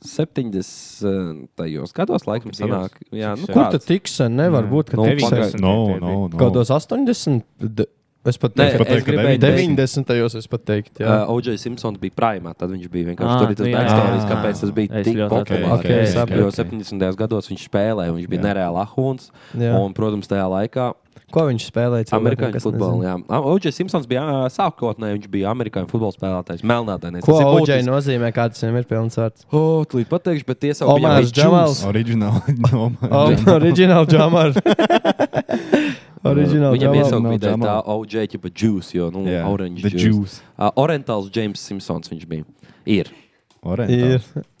70. gados laikam sanāk. Jā, nu,
Kur tu
kāds.
tiksi? Nevar
Nē.
būt, ka
Nu,
tev
pagaid.
ir
Deviņdesmit
no,
tie
no,
bija.
no.
kaut kādos 80. d- Es pat
Nē,
teiktu,
pat
es
teiktu, ka
gribēju teikt,
90. es pat teiktu. jā.
Uh, O.J. Simpsons bija primā, tad viņš bija vienkārši
Ā,
tur. ir Tas
nu jā,
bija backstories,
jā.
kāpēc tas bija
Es
tik
ļoti
populārs.
atceros. Ok,
Okay,
ok,
jo
ok.
70. gados viņš spēlēja, viņš bija
Jā.
nereāls ahūns.
Jā.
Un, protams, tajā laikā
Ko viņš spēlēja? cilvēkiem,
amerikāņu
kas
futbolā.
nezina?
Jā, O.J. Simpsons bija ā, sākotnēji, viņš bija amerikāņu futbola spēlētājs, melnādainais.
Ko Oģēna nozīmē, kāds viņam ir pilns vārds?
Hotlī pateikšu, bet tie savu
Omars Džavals.
[LAUGHS] oriģināli
Oh. O,
nomāja.
Original
[LAUGHS]
Jamar. Original
Viņam
Jamar.
Jamal,
iesaukt bija
Jamal.
tā O.J. ķipa juice, jo, nu, yeah, orange
The Juice.
Uh, orientāls James Simpsons viņš bija. Ir.
Ir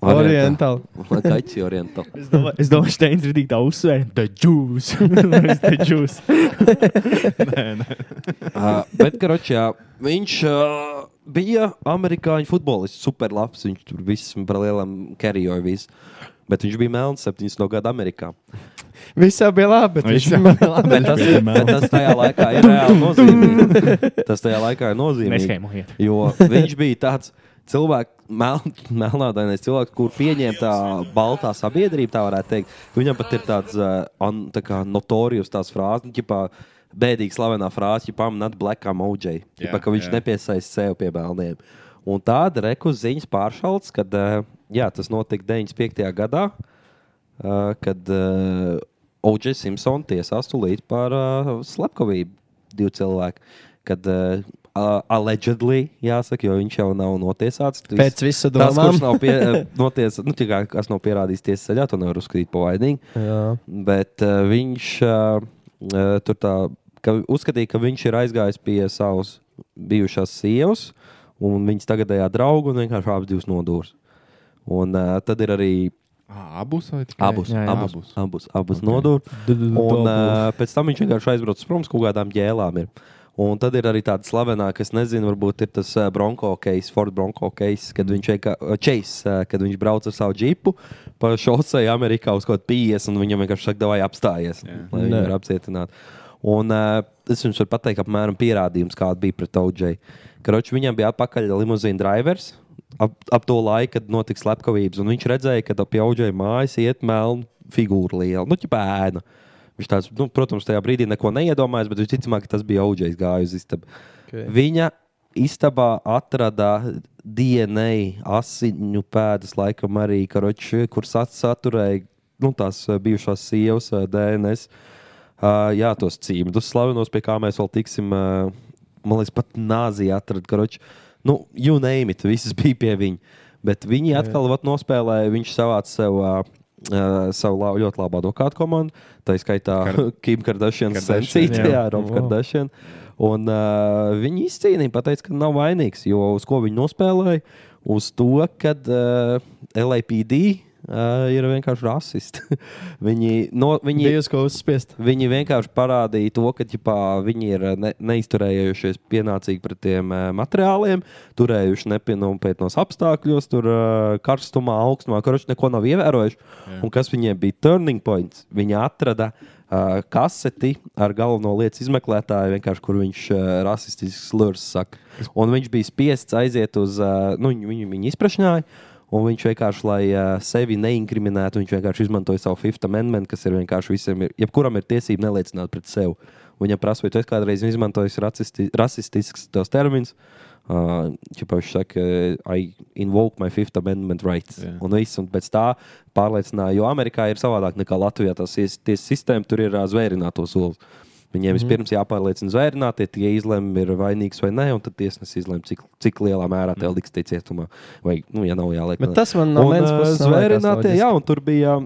Orientāls.
Oriental.
Kaķi [LAUGHS] orientāli.
Es domāju, es domāju, Steins ir tik tā uzsvērta. The
[LAUGHS]
juice. The juice.
Uh, bet, karoči, jā, viņš uh, bija amerikāņu futbolists, superlabs. Viņš tur viss par lielām karijoju visu. Bet viņš bija melns 70 gadu Amerikā.
Viss jau bija labi, bet
Viņš
viņš
jau
Bet tas, ir, bet tas tajā laikā ir reāli nozīmīgi. Tas tajā laikā ir nozīmīgi.
Neskēmojiet.
Jo viņš bija tāds cilvēks, mel, melnādainais cilvēks, kur pieņemta tā baltā sabiedrība, tā varētu teikt. Viņam pat ir tāds uh, un, tā kā notorijas tās frāzes, nu, ķipā, bēdīgi slavena frāze, ja pamanāt blackam OJ,
Jā,
ķipā, ka viņš
jā.
nepiesaista sev pie bērniem. Un tāda rekuziņas pāršals, kad uh, jā, tas notika 95. gadā, uh, kad uh, OJ eh, Simpsons tiesās tulīt par uh, slepkavību divu cilvēku. Kad uh, Uh, allegedly, jāsaka, jo viņš jau nav notiesāts. Tu
[LAUGHS] Pēc visu
Tas,
domām.
kurš nav pie,
[LAUGHS]
noties, nu, tikā, kas nav pierādījis tiesas ceļā, to nevar uzskatīt par vainīgu.
Jā.
Bet uh, viņš uh, uh, tur tā ka uzskatīja, ka viņš ir aizgājis pie savas bijušās sievas un viņas tagadējā drauga un vienkārši abas divas nodūrus. Un uh, tad ir arī
Ā, Ah, Abus vai tikai?
abus,
jā, jā.
abus, abus, abus, abus okay. nodūrus. Un uh, pēc tam viņš vienkārši aizbrauca prom uz kaut kādām ģēlām. Ir. Un tad ir arī tāda slavenā, kas nezinu, varbūt ir tas uh, Bronco case, Ford Bronco case,
Mm.
kad viņš, vienkā- uh, chase, uh, kad viņš brauc ar savu džipu pa šosei Amerikā uz kaut kāda 50, un viņam vienkārši saka, vai apstājies, lai viņu
Nē.
var apcietināt. Un uh, es jums varu pateikt, apmēram pierādījums, kāda bija pret OJ. Karoči, viņam bija atpakaļ limuzīna drivers. Ap, ap to laiku, kad notika slepkavības, un viņš redzēja, ka ap auģēju mājas iet melna figūra liela, nu, ķepēna. Viņš tāds, nu, protams, tajā brīdī neko neiedomājās, bet visticamāk, ka tas bija auģējs gājus istabu. Okay. Viņa istabā atrada DNA asiņu pēdas, laikam arī karoči, kur sat- saturēja nu, tās eh, bijušās sievas eh, DNS. Uh, jā, tos cīmdus slavenos, pie kā mēs vēl tiksim. Uh, man liekas, pat Nāzija atrada karoči. Nu, you name it, visas [LAUGHS] bija pie viņa. Bet viņi atkal vat, nospēlēja, viņš savāca sev. Uh, Uh, savu la ļoti labu advokātu komandu. Tā ir skaitā
Kar-
[LAUGHS] Kim Kardashians
Kardashian,
sensīte,
jā.
jā, Rob
Wow.
Kardashian. Un uh, viņi izcīnīja, pateica, ka nav vainīgs, jo uz ko viņi nospēlēja? Uz to, ka uh, LAPD uh, ir vienkārši rasisti. [LAUGHS] viņi, no, viņi,
Bija uz ko uzspiest.
Viņi vienkārši parādīja to, ka ģipā, viņi ir eh, ne, neizturējušies pienācīgi pret tiem eh, materiāliem, turējuši nepienācīgos apstākļos, tur eh, karstumā, augstumā, kurš neko nav ievērojuši.
Jā.
Un kas viņiem bija turning points? Viņi atrada eh, kaseti ar galveno lietas izmeklētāju, vienkārši, kur viņš eh, rasistisks slurs saka. Un viņš bija spiests aiziet uz, eh, nu, viņu, viņu, viņu izprašņāja. Un viņš vienkārši, lai uh, sevi neinkriminētu, viņš vienkārši izmantoja savu Fifth Amendment, kas ir vienkārši visiem, ir, jebkuram ir tiesība neliecināt pret sevi. Un Viņam prasa, vai tu esi kādreiz izmantojis racisti, rasistisks tos termins. Uh, Čipā viņš saka, eh, I invoke my Fifth Amendment rights.
Jā.
Un viss, un pēc tā pārliecināja, jo Amerikā ir savādāk nekā Latvijā. Tas tiesas sistēma tur ir uh, zvērināto soli. Viņiem
Mhm.
vispirms jāpārliecina zvērinātie, tie izlemj, ir vainīgs vai nē, un tad tiesnesis izlemj, cik, cik lielā mērā tev liks tie cietumā. Vai, nu, ja nav jāliek,
Mhm. Bet
neliekas.
tas man no
Un,
vienas
eh,
puses nav liekas
zvērinātie,
loģiski.
jā, un tur bija.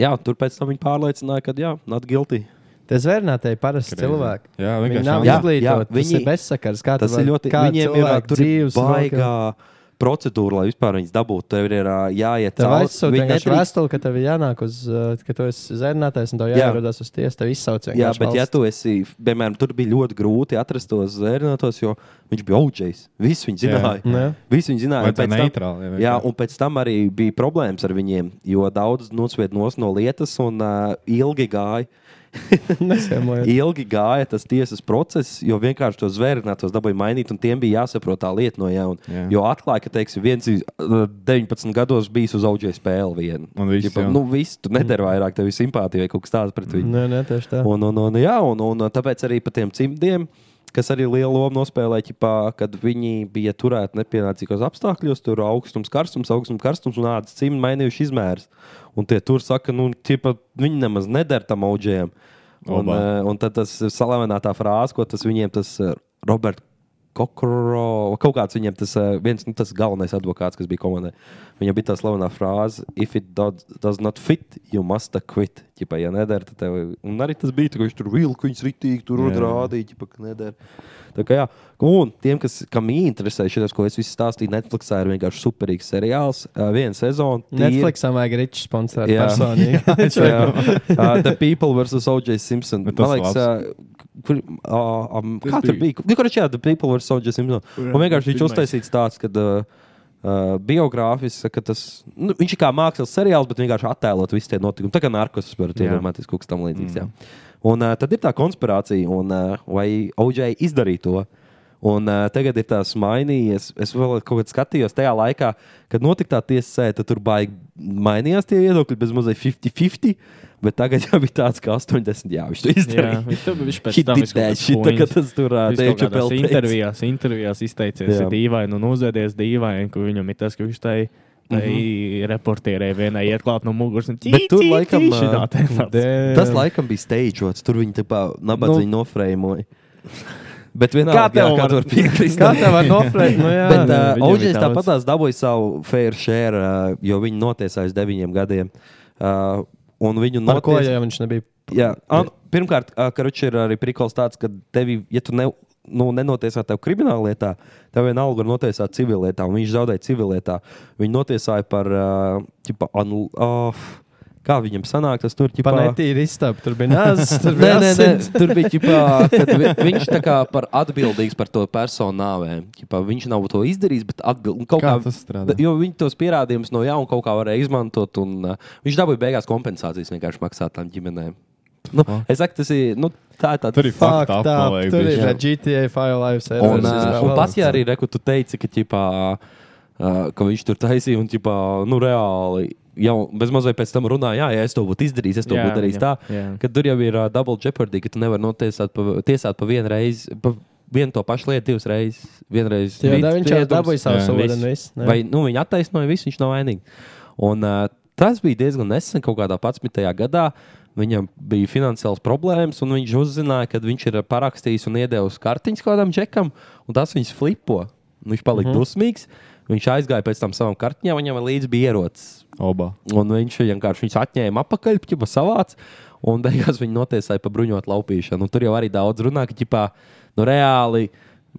Jā, tur pēc tam viņi pārliecināja, ka jā, not guilty.
Tie zvērnātēji parasti cilvēki.
Jā,
Viņi
vienkārši
nav
jā.
Jā,
izglītoti.
jā,
Viņi
viņi-
ir bezsakars. Kā
Tas ir ļoti. Viņiem ir ā, tur ir baigā procedūra, lai vispār viņas dabūtu. Tev ir ā, jāiet
Tev
cauri.
aizsūta
Viņi
vienkārši
nedrīkst-
vēstule, ka tev ir jānāk uz, uh, ka tu esi zvērnātājs un tev
Jā.
jāierodas uz tiesu. Tev izsauc
Jā,
vienkārši
bet ja
valsts.
tu esi, piemēram, tur bija ļoti grūti atrast tos zērnētos, jo viņš bija auģējs. Viss viņi zināja.
Nē. [LAUGHS]
Visi viņi zināja,
Vajadzēja
pēc tam-
neitrāli, jā, vienkārši.
Jā, un pēc tam arī bija problēmas ar viņiem, jo daudz nosvied nos no lietas un uh, ilgi gāja.
Nesēmojot.
Ilgi gāja tas tiesas process, jo vienkārši tos zvērnētos dabūja mainīt, un tiem bija jāsaprot tā lieta no jauna.
Jā.
Jo atklāja, ka, teiksim, viens iz- eh, 19 gados bijis uz auģēju spēli vienu.
Un viss,
Ķipa,
jā.
nu, viss, tu nedari vairāk, tev ir simpātija vai kaut kas tāds pret viņu.
Nē, nē, tieši tā.
Un, un, un, jā, un, un tāpēc arī par tiem cimdiem, kas arī lielu lomu nospēlēja, ķipā, kad viņi bija turēti nepienācīgos apstākļos, tur augstums, karstums, augstums, karstums un ādas cimdi mainījuši izmērus. Un tie tur saka, nu, ķipa, viņi nemaz nedara tam audzējiem. Un,
Obā.
eh, un tad tas salavēnā tā frāze, ko tas viņiem tas Roberts. Kokro, kaut kāds viņam tas eh, viens, nu, tas galvenais advokāts, kas bija komandai. Viņam bija tā slavena frāze, if it does, does not fit, you must quit. Ķipa, ja nedara, tad tev. Un arī tas bija, tā, ka viņš tur vilka, viņš ritīgi tur
Jā, jā.
rādīja, ķipa, ka nedara. Tā kā jā, un tiem, kas, kam interesē šis, ko es visu stāstīju, Netflixā ir vienkārši superīgs seriāls, eh, viena sezona. tīri-
Netflixam vajag ričs sponsorēt
[LAUGHS] Jā.
personīgi.
[LAUGHS]
uh, the People versus O.J. Simpson.
Bet
Man
tas
liekas, uh, kur, uh, um,
Tas
kā tur
bija-
bija? Nu, Kur šajā The People versus O.J. Simpson? Un vienkārši viņš
pirmais.
uztaisīts tāds, ka uh, uh, biogrāfijas, ka tas, nu, viņš ir kā mākslas seriāls, bet vienkārši attēlot visu tie notikumi. Tā kā narkos varat
Jā. Mm.
iedomāties kaut kas tam līdzīgs. jā. Un uh, tad ir tā konspirācija, un uh, vai O.J. izdarīja to. Un uh, tagad ir tas mainījies. Es vēl kaut kādā skatījos tajā laikā, kad notika tā tiesasē, tad tur baigi mainījās tie viedokļi, bez mazliet 50-50. Bet tagad jau bija tāds, ka 80 jā, viņš to
Jā,
izdarīja.
viņš tur viņš pēc
He
tam
did
visu kaut
that
kādas
shit, tā kā
puņas.
tas tur uh,
Viņš kaut kādās
bija
intervijās, intervijās izteicies
Jā.
dīvaini un uzvedies dīvaini, ka viņam ir tas, ka viņš tai mm -hmm. reportierē vienai iet klāt no muguras. un
Mhm. Bet tur
tī,
laikam,
tī,
ā,
šitā te tāds.
Tas laikam bija steidžots, tur viņi tā kā nabadzīgi nu, nofrēmoja. Bet vienalga,
tev
jā, kā
var-
tev var piekrist?
Kā tev var
[LAUGHS]
nofrēt? Nu, jā,
Bet
jā,
uh,
viņam ir
Oļģis
daudz.
tāpat tās dabūja savu fair share, uh, jo viņi notiesājas deviņiem gadiem. Uh, un viņu
Par ko,
notiesāja.
ja viņš nebija?
Jā, un, pirmkārt, karoči ir arī prikals tāds, ka tevi, ja tu ne, nu, nenotiesā tev krimināla lietā, tev vienalga ir notiesāta civillietā, un viņš zaudēja civillietā. Viņu notiesāja par, uh, ķipa, un, oh, kā viņam sanāk, tas tur ķipa,
Pa netīri iztapu, tur
[LAUGHS]
bija nāzes, tur
Nē,
bija
nē, nē,
asins.
tur bija ģipā, kad vi- viņš tā kā par atbildīgs par to personu nāvēm. Ģipā, viņš nav to izdarījis, bet atbild, kaut
Kā
kā,
tas strādā?
Jo viņi tos pierādījumus no jauna kaut kā varēja izmantot. Un, uh, viņš dabūja beigās kompensācijas vienkārši maksāt tām ģimenēm. Nu, es saku, tas ir. Nu, tā ir
Tur
tāda
ir fakti,
Fuck, tā,
apmalēji
tur
bišķi.
ir GTA 5 lives.
Un, uh, un pats jā, arī reku, tu teici, ka, ķipā, uh, ka viņš tur taisīja un ķipā, nu, reāli. Jau bezmazliet pēc tam runāja, jā, ja es to būtu izdarījis, es to
Jā,
būtu darījis tā.
jā, jā.
Ka tur jau ir uh, double jeopardy, ka tu nevari notiesāt pa, tiesāt pa vienu reizi, pa vienu to pašu lietu divas reizes. Vienreiz
Jā,
rīt
tā viņš jau
cietums.
dabūja savu
Jā.
sodu. un
Viss.
viss, ne?
Vai nu, viņi attaisnoja visu, viņš nav vainīgs. Un, uh, tas bija diezgan nesen, kaut kādā 11. gadā. Viņam bija finansiāls problēmas, un viņš uzzināja, ka viņš ir parakstījis un iedevis kartiņas kādam čekam, un tas viņus flipo. Un Viņš palika
Mhm.
mm -hmm. dusmīgs. Viņš aizgāja pēc tam savam kartiņam, viņam līdzi bija ierocis.
Obā.
Un viņš vienkārši viņus atņēma apakaļ, jau savāc, un [LAUGHS] beigās viņu notiesāja par bruņotu laupīšanu. Un tur jau arī daudz runā, ka ģipā, nu, reāli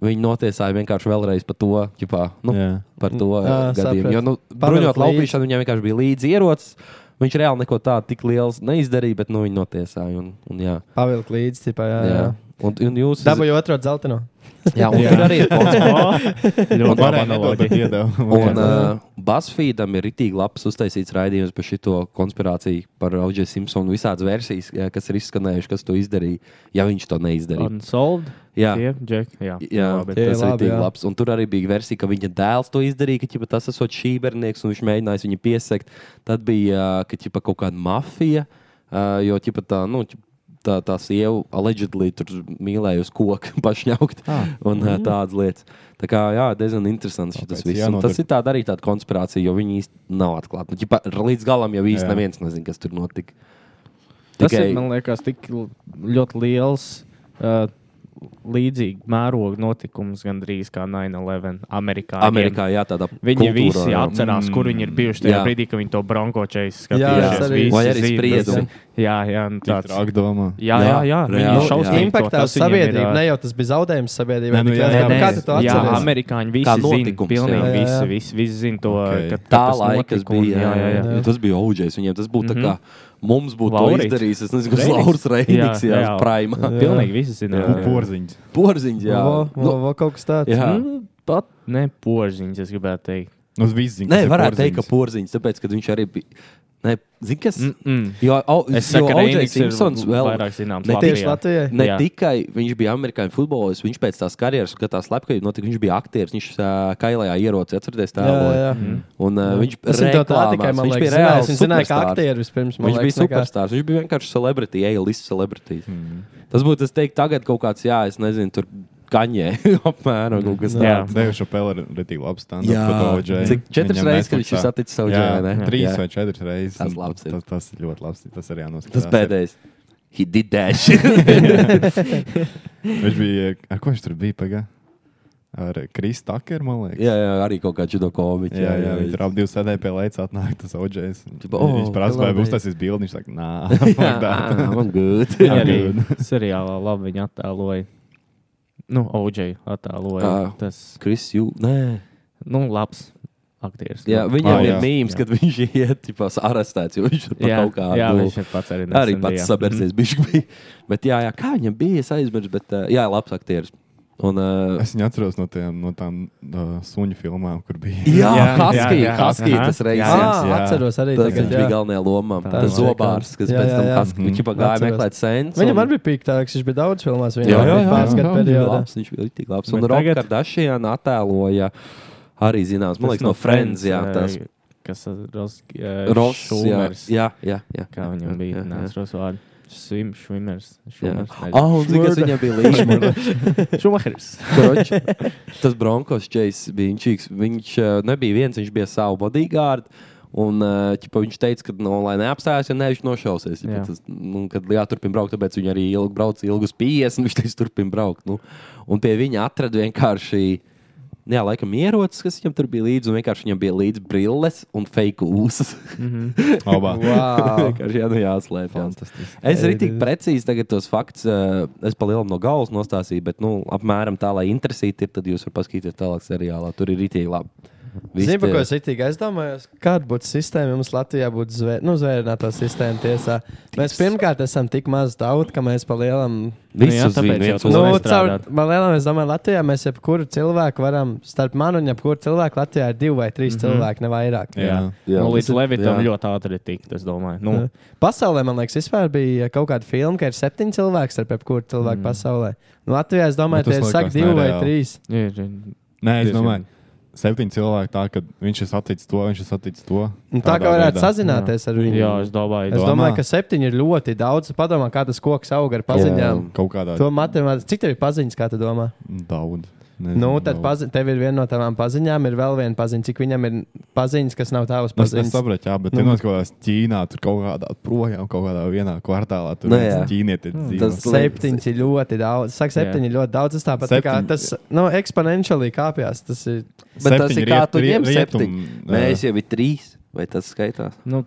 viņi notiesāja vienkārši vēlreiz par to, ģipā, nu,
[LAUGHS]
Jā.
par to
Ā,
Nā, gadījumu.
sapratu.
Jo nu,
Pavēl
bruņotu
līdzi.
laupīšanu viņam vienkārši bija līdzi ierocis. Viņš reāli neko tādu tik lielu neizdarīja, bet nu, viņi notiesāja. Un, un, jā,
Pavilkt līdzi, tipā, jā.
jā.
jā.
Un, un jūs
Dabūju otro zeltaino.
[LAUGHS] jā, un tur arī ir posms.
Ļoti labi analoģija.
Un
Un,
uh, Basfīdam ir itī labs uztaisīts raidījums par šo konspirāciju, par Audžē Simpsonu visādas versijas, jā, kas ir izskanējušas, kas to izdarīja, ja viņš to neizdarīja.
Unsolved.
Jā.
Tie, Jack, jā.
Jā,
Labi.
tas ir
Tie labi,
labi,
jā.
labs. Un tur arī bija versija, ka viņa dēls to izdarīja, ka ķipa, tas ir šī bērnieks, un viņš mēģinājis viņu piesekt. Tad bija ka, ķipa, kaut kāda mafija, ā, jo ķipa, tā, nu, ķipa, tā, tā sieva allegedly tur mīlēja uz koku [LAUGHS] pašņaukt un mm. tādas lietas. Tā kā jā, diezgan interesants šis
Tāpēc
viss. Un
jānotur-
Tas ir tāda arī tāda konspirācija, jo viņi īsti nav atklāti. Nu, ķipa, līdz galam jau
Jā.
īsti neviens nezina, kas tur notika.
Tas
Tikai-
ir, man liekas, tik l- ļoti liels, uh, līdzīgs mēroga notikums gandrīz kā 9-11 Amerikā.
Amerikā jā, tādā
Viņi
kultūrā,
kultūrā, visi
jā. Mm,
atcerās, kur viņi ir bijuši tajā
Jā.
jā. brīdī, kad viņi to bronkočēju
Jā,
skatījās.
tas arī-
Visi
Vai
arī
zina,
spriedumi.
visi- Jā, jā, nu
tāds
tāds.
trāk domā.
Jā, jā, jā.
Jā,
Viņi
jā.
ir šausmīgi.
Impactā
to,
uz
tas viņiem ir,
sabiedrību.
ā,
Ne jau tas bija zaudējums sabiedrībai.
Nē, nu
bet
jā,
kā-
jā,
Kā
nē.
tu to
jā,
atceries?
amerikāņi
Kā
visi zina.
notikums,
Pilnīgi
jā. Jā,
visi,
jā.
visi, visi zina to,
Ok.
okay. ka
tā
tas
laika
notika un-
bija. Jā, jā, jā. Jā. Tas bija Oļģis. Viņam tas būtu mm -hmm. kā mums būtu Laurits.
Laurīts.
izdarījis. Es nezinu, kas
Reiniks.
Lauris Reiniks
Jā,
jā, jā.
jā.
Prime.
Pilnīgi visi zina.
Un Nu, porziņš.
[LAUGHS] Porziņš, jā.
Vo-
Nu,
vo- vo- Kaut kas tāds.
jā.
Mm, Pat ne porziņš, es gribētu teikt.
Nu, Uz visziņas.
Nē, varētu teikt, ka porziņš, tāpēc, ka viņš arī bija. Nē, zini, kas? Mm.
Mm -mm.
Jo, au,
Es
jo
saku, ka
Oļģis
Reiniks ir
Simpsons vēl.
vairāk zināms.
Ne
Tieši Latvijai.
Ne jā.
Jā.
tikai viņš bija amerikāņu futbolists, viņš pēc tās karjeras, kad tā slepkavība notika, viņš bija aktieris, viņš uh, kailajā ierocē, atcerieties, tā
Jā, jā.
bija. Un uh, viņš
Es viņu to tā
reklāmās,
tikai, man
viņš
liekas,
bija
zināju.
reāls
Es viņu zināju, ka
superstars.
aktieri vispirms. man
Viņš
liekas,
bija
nekā-
superstars. Viņš bija vienkārši celebrity, A-list celebrity. Mm. Tas būtu, es teiktu, tagad kaut kāds, jā, es nezinu, tur kaņē [LAUGHS] apmēram kaut kas
Jā.
tāds.
Devuši pēlē ir retīgi labs standarts.
Jā. Cik četras reizes, kad viņš ir saticis OJ, vai ne?
Trīs
Jā.
vai četras reizes.
Tas
Un
labs ir.
Tas, tas ir ļoti labs. Tas arī jānoskatās.
Tas
ir.
pēdējais. He did [LAUGHS] that.
Viņš bija, ar ko viņš tur bija pagā? Ar Krisu Takeru, man liekas.
jā, jā, arī kaut kā judo komiķi.
Jā, jā, viņi tur abi bija sēdējuši pie lejas, atnāk tas OJs.
Tipo, "Oh,
Viņš prasa, vai
hello,
būs tas izbildi. Viņš saka, nā,
[LAUGHS]
[LAUGHS]
Jā,
fuck that."
Ah, man good.
Viņa
Jā,
arī
[LAUGHS]
good.
seriālā labi viņa attēloja. Nu, OJ attēloja.
Ā.
Tas,
Kris, jū, nē.
nu, labs aktieris.
Jā,
Nu,
viņam
Ah,
oh, ir
jā.
mīmīms, kad viņš [LAUGHS] iet, tipā, arestēts, jo viņš ir pa
jā,
kaut kā.
jā,
nu,
viņš ir pats arī.
Arī
nesen
pats
bija. Mhm.
sabērsies, bišķi bija. [LAUGHS] Bet jā, jā, kā viņam bija, es aizmirsu, bet ā, jā, labs aktieris. Un, uh,
Es viņu atceros no, tiem, no tām uh, suņu filmām, kur bija. [LAUGHS]
jā,
Jā,
Haskī,
jā, jā.
Haskī
Aha.
tas reizes.
Jā,
jā.
Ah,
jā.
Atceros arī.
Tas
tagad,
viņš bija
jā.
galvenajā lomā.
Tā
Tas
ir
zobārs, kas
Jā,
pēc
jā,
tam
jā.
Haskī-
Mhm.
viņš jau gāja
Atceros.
meklēt sēnes.
Viņam arī bija pīktāks, viņš bija daudz filmās. Viņam
Jā, jā,
bija
jā,
pāris
jā,
gadu
jā,
periodā.
labs. Viņš bija ļoti labs. Un
Bet
Rokas
tagad-
Kardashian attēloja arī zināms, man
Mm-hmm. Tas
liekas, no Friends. Jā,
ā,
tas
Kas eh,
Ross. Jā,
Ross?
jā, jā, jā.
Kā viņam bija? Neatceros vārdu. Svim, švimers.
Jā,
švimers, nezinu.
oh, un cik tas viņam bija līdzīgs.
Šumahers.
[LAUGHS] Kroči, tas Bronkos čejs bija inčīgs. Viņš eh, nebija viens, viņš bija savu bodyguardu. Un eh, ķipa, viņš teica, ka no, lai neapstājas, ja ne, viņš nošausies.
Jā.
ķipa, Tas, nu, kad jāturpina braukt, tāpēc viņi arī ilgi brauc, ilgus 50. [LAUGHS] Viņš teica, turpina braukt. Nu. Un pie viņa atrada vienkārši. nu Jā, laikam ierocis, kas viņam tur bija līdzi. un Vienkārši viņam bija līdzi brilles un fake ūsas.
Abā.
[LAUGHS]
Wow.
vienkārši jā, nu jāslēpjas. Es arī tik precīzi tagad tos faktus, eh, es palielam no galvas nostāstīju, bet nu, apmēram tā, lai interesīti ir, tad jūs varat paskatīties tālāk seriālā. Tur ir rītīgi labi. Visi
Zinu,
tie-
ko es itīgi aizdomājos. Kāda būtu sistēma, ja mums Latvijā būtu zvē, nu, zvērināta sistēma tiesā? Mēs pirmkārt esam tik maza tauta, ka mēs palielam.
Nu jā,
Visus
tāpēc
zinu,
jau
viens
tu
otru.
Nu,
nestrādāt.
caur, man lielam, es domāju, Latvijā mēs jebkuru cilvēku varam, starp mani un jebkuru cilvēku Latvijā ir divi vai trīs mm -hmm. cilvēki, ne vairāk.
Jā.
Jā, nu, līdz
tas ir-
Levitam
jā.
ļoti ātri tikt, es domāju. Nu,
Jā. Eh, Pasaulē, man liekas, vispār bija kaut kāda filma, ka ir septiņi cilvēki starp jebkuru cilvēku mm. pasaulē. Nu, Latvijā, es
Nu,
domāju, tie
tas
ir
liekas
saka divi vai
nereāli.
trīs.
ir, ir,
Nē, es
Diezgan.
domāju, septiņi cilvēki tā, ka viņš ir saticis to, viņš ir saticis to.
Un Nu,
Nu,
tā
Tādā
kā varētu
veidā.
sazināties ar viņu.
jā, es domāju,
Es
es
Domā.
domāju, ka septiņi ir ļoti daudz. Padomā, kā tas koks aug ar paziņām.
Jā.
Kaut kādā
To matemātikā, cik tev ir paziņas, kā tu domā?
daudz. Nezinu,
Nu, tad
daudz.
pazi... tev ir viena no tavām paziņām, ir vēl viena paziņa, cik viņam ir paziņas, kas nav tavas
Es, es
paziņas.
saprotu, jā, bet
Nu.
tur kaut kādā Ķīnā, tur kaut kādā projām, kaut kādā vienā kvartālā tur
Nu,
bija
jā.
ķīnietis.
Tas-
dzīvo.
Septiņi ir ļoti daudz. Saka, septiņi ir ļoti daudz. Tas tāpat tā kā
Septiņi-
tas nu, eksponenciāli kāpjas. Tas ir
Bet tas
Septiņi
ir kā
riet-
tu
rie-
ņem
rietum,
septiņi. Nē, es jau biju trīs. Vai tas skaitās?
nu,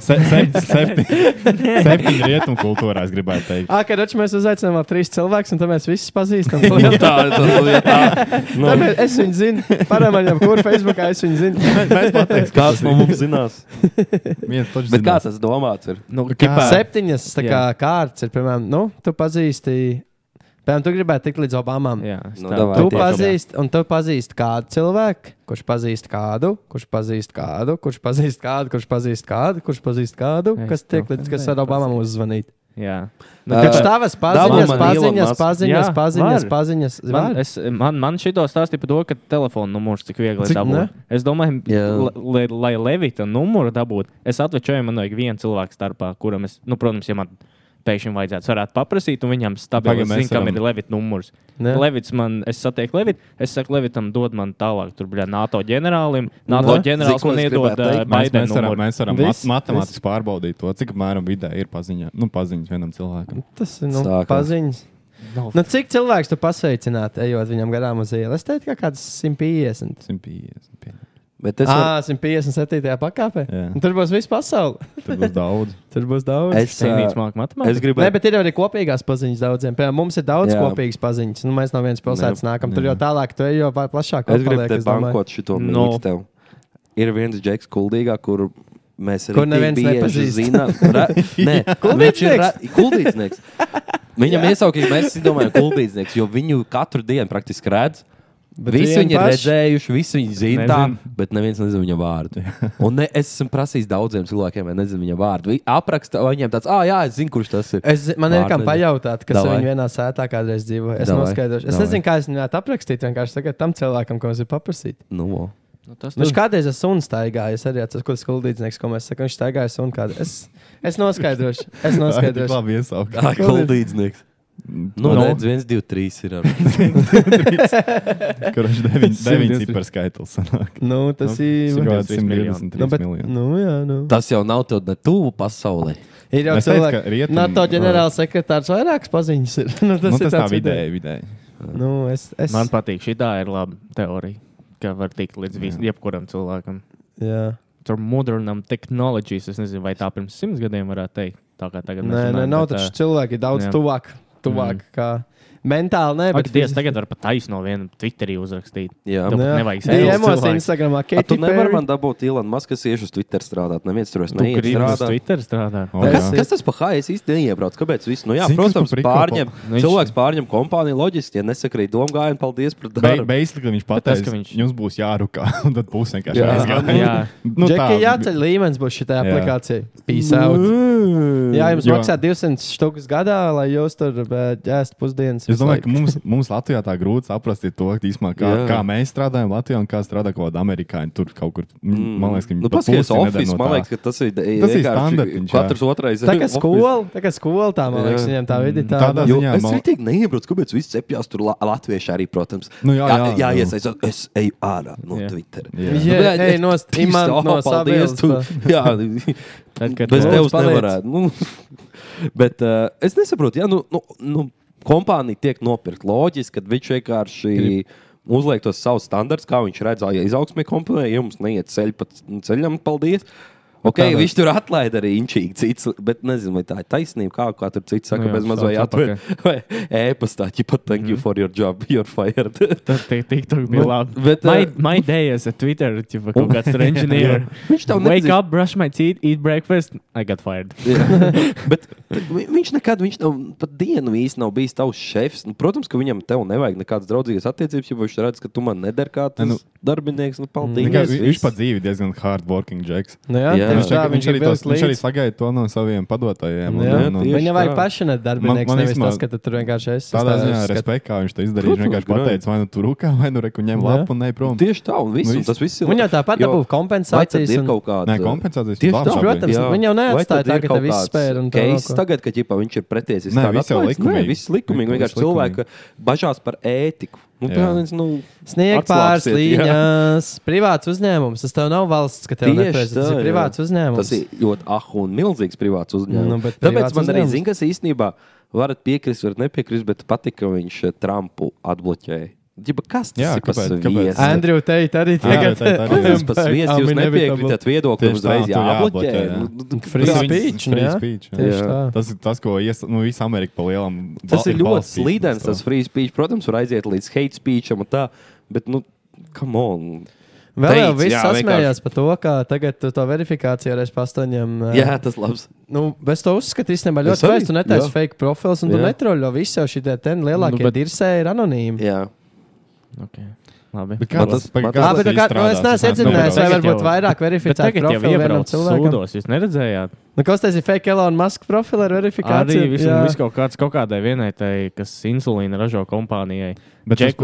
Se, se, septiņi
[LAUGHS]
septiņi rietumu kultūrā, es gribētu teikt.
Ah, kad mēs uzaicinām vēl trīs cilvēkus, un tad mēs visus
[LAUGHS]
pazīstam.
tā, tā, tā.
No.
Nu.
Tāpēc es viņu zinu. Parāmaņam, kur Facebookā es viņu zinu.
Mēs pateiks,
Kāds no mums zinās?
viens taču
Bet kā
zinās.
tas domāts? Ir?
nu,
Kā?
Septiņas tā
Jā.
kā, kārtas ir, piemēram, nu, tu pazīsti, piemēram, tu gribētu tikt līdz Obamam.
jā, es
Nu,
tā-
davai.
Tu
Vai tiešām, jā.
pazīsti, un tu pazīsti kādu cilvēku, kurš pazīst kādu, kurš pazīst kādu, kurš pazīst kādu, kurš pazīst kādu, kurš pazīst kādu,
Es
kas tiek
tev
līdz, kas ar Obamam uzzvanīt.
jā.
Nu,
Taču tavas paziņas,
man Elon
paziņas,
Musk.
paziņas,
Jā,
paziņas,
var.
paziņas.
Man,
var?
es, man, man šito stāstīja par to, ka telefona numurs cik viegli
Cik-
cik, dabūt. Ne? Es domāju,
Jā.
la- lai, lai Levita numuru dabūtu, es atvečoju, man vajag vienu cilvēku starpā, kuram es, nu, protams, ja man pēkšņi vajadzētu, es varētu paprasīt, un viņam
Pagaid,
stabili
mēs
zina, kam
varam-
ir Levita numurs.
Jā.
Levits man, es satieku Levitu, es saku Levitam, dod man tālāk, tur, bļā, NATO ģenerālim. NATO
Nu,
ģenerālis
zini, ko
man
es
iedod
gribētu
ā,
teikt?
Mēs,
Baidena
mēs varam,
numuru.
mēs varam mat
Viss,
matemātiski pārbaudīt to, cik apmēram vidē ir paziņa, nu, paziņas vienam cilvēkam.
Tas ir nu,
Sākam.
paziņas.
Nav-
Nu, cik cilvēks tu pasveicināt, ejot viņam garām uz ielas? Es teiktu, ka kāds 150.
150.
Bet es, var,
Ah, 157. pakāpē.
Jā.
Un Tur būs viss pasaule.
Tur būs daudz.
Tur būs daudz.
Es-
Senīts māk matemātiku.
es gribēju.
Nē, bet ir arī kopīgās paziņas daudziem. Piemēram, mums ir daudz
Jā.
jā. kopīgas paziņas. Nu, mēs no vienas pilsētas nākam. Tur
jā.
jau tālāk, tu ej jau pa- plašāk.
Es gribu
paliek,
te
domāju.
bankot šo
Nu.
monētu. Tev. Ir viens džeks, kuldīgā, kur mēs arī
Kur neviens nepazīst.
zinām.
[LAUGHS]
Nē, viņš ir ra- kuldīdznieks. Viņam iesaukīja, mēs domājam, kuldīdznieks, jo viņu katru dienu praktiski redz. Visi
vienu
viņi ir
pašu?
redzējuši, visi viņi zina, tā,
Nezinu.
bet neviens nezina viņa
[LAUGHS]
vārdu. Un ne, es esmu prasījis daudziem cilvēkiem, vai nezinu viņa vārdu. Viņi apraksta, vai viņiem tāds, ah, jā, es zinu, kurš tas ir.
Es, zi- man ir
Vārdu
kā
nezinu.
pajautāt, kas
Davai.
viņu vienā sētā kādreiz dzīvoja. Es
Davai,
noskaidrošu. Es
davai.
nezinu, kā es viņu varētu aprakstīt. Vienkārši tagad tam cilvēkam, ko es gribu paprasīt. [LAUGHS]
Nu,
Nu, tas
Viņš
tas
kādreiz ar sunu staigāja. Es arī atceros, ko tas kuldīdznieks, ko mēs sakām. Viņš staigāja sunu kādu. Es, es noskaidrošu. Es [LAUGHS]
tik
noskaidrošu.
labi iesaukt.
tā ir kuldīdznieks. Nu,
Nu.
no. redz, viens, divi, trīs ir. Ar...
Kurš
[LAUGHS]
9
123.
cipars skaitlis sanāk.
Nu, tas ir.
simts.
Kaut kāds
123 miljoni.
123
Nu, bet,
miljoni.
nu, jā, nu.
Tas jau nav tev ne tuvu pasaulē.
Ir jau
Es teicu,
cilvēki,
ka
kas
rietum-
rietum... NATO ģenerālsekretārs vairākas paziņas. Ir. [LAUGHS] nu, tas
Nu,
ir
tas tā
tāds
vidēji, vidēji.
Nu, es, es...
man patīk, šī tā ir laba teorija, ka var tikt līdz vis, jebkuram cilvēkam.
Jā.
tur modernām tehnoloģijām. Es nezinu, vai tā pirms simts gadiem varētu teikt. Tā kā tagad
Nē, nē, nav taču cilvēki daudz
jā.
jā. tuvāk. tuvāk mm. kā... Mentāli, nē,
Bet
bet
Dievs, tagad var pat taisno vienu Twitterī uzrakstīt.
Jā.
Tev pat
Jā.
nevajag
Bija
sēdēt
emocija
cilvēku.
Instagramā.
A, tu
Katy
nevari
Perry.
man dabūt Ilanu Masku, kas ieš uz Twitter strādāt. Neviens tur vairs
Tu
neiet
gribi uz
strādāt.
Twitter strādāt.
O,
Tas
jā.
ir-
Kas tas par haies īsti neiebrauc? Kāpēc? Visu? Nu, jā,
Zini, kas
protams,
par prikolu?
pārņem,
Nu, viņš-
cilvēks pārņem kompāniju loģiski. Ja nesakrīt domgājienu, paldies par
Be-
darbu.
Basically, viņš
tas,
pateica,
ka
ka
viņš-
viņš... jums būs jārukā, [LAUGHS] un tad būs vienkārši
Jā.
jāizgāja.
Jā.
[LAUGHS] nu,
Džeki, jāceļ līmenis būs šitā
Jā. Nu.
aplikācijā. Peace out. Jā, jums
Mm. Jo-
maksā 200 štukas gadā, lai jūs tur ēstu eh, pusdienas.
Es Es domāju, ka
laiks.
mums, mums Latvijā tā grūti saprast, ir to, ka, īsumā, kā,
Jā.
kā mēs strādājam Latvijā un kā strādā kaut kāda amerikāņa. Tur kaut kur, mm. man liekas, ka viņi
nu,
pa
paskaties,
pusi nedara
office,
no
man
tā.
liekas, ka tas ir
Tas ir standartiņš, jā.
Katrs otrais
Tā kā skola, tā kā skola tā, man liekas, viņam tā vidi tā. nu.
Tādā
Jo,
ziņā
es
man-
rītīgi neiebraucu, kāpēc viss cepjas tur la- latvieši arī, protams.
Nu, jā,
jā,
jā, jā.
iesaistot. Es eju ārā no
Jā.
Twitter.
Jā.
Jā,
Nu, bet-
ej,
[LAUGHS]
nost-
Tīs,
imant
oh,
no
paldies,
sabiedrības,
tu-
tā.
[LAUGHS] Jā,
Tad, kad
Bez
tu-
tevis
Paliec.
nevarētu. Nu, bet uh, es nesaprotu, ja nu, nu, nu, kompānija tiek nopirkta loģiski, kad viņš vienkārši uzliek tos savus standartus, kā viņš redz, ja izaugsmē kompānijā, ja mums neiet ceļ pa ceļam, paldies. Okay,
tādā-
viņš tur atlaida arī inčīgi cits, bet nezinu, vai tā ir taisnība. Kā, kā tur cits saka,
Nu jā,
nu bez maz vai
sauc
atver [LAUGHS] vai ēpastā, ja pat thank you mm. for your job, [LAUGHS] you're fired.
Tad tik- TikTok bija labi.
bet,
Bet, my,
eh,
my day is a Twitter, tipo, kaut kāds tur engineer.
Viņš tev
Wake
nedzīst-
up, brush my teeth, eat breakfast. I got fired.
[LAUGHS]
Jā. Bet [LAUGHS] vi- viņš nekad, viņš nav, pat dienu īsti nav bijis tavs šefs. Nu, protams, ka viņam tev nevajag nekādas draudzīgas attiecības, jo viņš redz, ka tu man nedari kā tas
Ne, nu-
nu, darbinieks. Nu, paldies,
Tikai vi- Viņš
viss.
pat dzīvi diezgan hardworking džeks.
Nu jā,
Jā.
tieši
Viņš,
tā,
viņš,
viņš
arī
ir
tos,
bijis
viņš arī
līdz.
sagaida to no saviem padotājiem. un-
Jā, nu,
un- un-
tieši
Viņam vajag
tā.
pašanēt darbinieks,
Man- man
nevis
vismaz-
tas, ka tu tur vienkārši esi.
Tādā
Es tā
ziņā
skatu.
respektā, kā viņš to izdarīja. Viņš
Protams,
vienkārši
grūti.
pateica, vai nu tur rūkā, vai nu reku ņem
Jā.
lapu un ne prom.
Tieši tā, un viss.
Nu,
Un
viss.
tas viss ir.
Viņam tāpat
Jo-
dabūja
Vai tad
kompensācijas.
ir
un-
kaut kāda
Nē, kompensācijas
Tieši
labs
tā,
abi.
Protams,
Jā.
viņi jau neatstāja
Vai tad
tā,
ir
ka
kaut
tev viss
kāds
spēr un tā
case
kaut ko?
Tagad, ka ģipa, viņš ir pretiesis.
Nē,
kādu
viss jau
atlaidis?
likumīgi.
Nē, viss likumīgi.
Viss
Vienkārši
likumīgi.
cilvēki bažās par ētiku. Nu,
Jā.
piemēram, nu,
Sniegpārs,
atslābsiet, jā.
līnijas, privāts uzņēmums. Tas tev nav valsts, ka tev
Tieši
nepēc, tas
tā,
ir
jā.
privāts uzņēmums.
Tas ir ļoti ah, un milzīgs privāts uzņēmums.
Nu,
Nu,
bet privāts
Tāpēc man arī
uzņēmums.
zina, kas īstenībā varat piekrist, varat nepiekrist, bet patika, ka viņš eh, Trumpu atbloķēja. Ģiba, kas tas
Jā,
ir? Kāpēc,
kāpēc- kāpēc?
kāpēc?
Andrew Teit arī
Andrew
tagad.
Tate arī, jā.
Tas pats viesis, jūs nepiekrītat viedoklim,
Tieši tā,
uzreiz
tu
jābloķē.
jābloķē, jā.
Nu, nu,
Free
tas-
Free
speech, nu
free
jā.
speech, jā.
[LAUGHS] Tieši
Jā.
tā.
Tas ir tas, ko ies, nu, visa Amerika pa lielam.
Tas
bal-
ir
ir
ļoti
balstīts uz
slidens,
to.
tas free speech. Protams, var aiziet līdz hate speecham un tā, bet, nu, come on.
Vēl jau
Teicis,
viss
jā,
sasmējās par to, ka tagad tu to verifikāciju reiz pastaņem.
Jā, tas labs.
Nu, bez to uzskatu īstenībā ļoti
Es arī,
skaisti. Tu netaisi
jā.
fake profils un tu
Jā.
netroļo visu šī te ten lielākie
Nu, bet-
dirsē ir anonīmi.
Jā.
Okay. Labi.
Bet kā
Man
tas
tas-
pagaid,
man
kā
Jā,
tas-
tas
bet tā kā, nu, es
izstrādās?
neesmu
Es nesaprotu.
iedziļinājies, vai
Tagad
varbūt
jau-
vairāk
Bet
verificēt
tagad jau
profilu vienam
iebrauc
cilvēkam.
sūdos, jūs neredzējāt.
Nu, kas tas ir fake Elon Musk profila ar verifikāciju?
Arī visam
Jā.
vis kaut, kāds, kaut kādai vienai, tai, kas insulīna ražo kompānijai.
Bet
Bet
tas-
Džek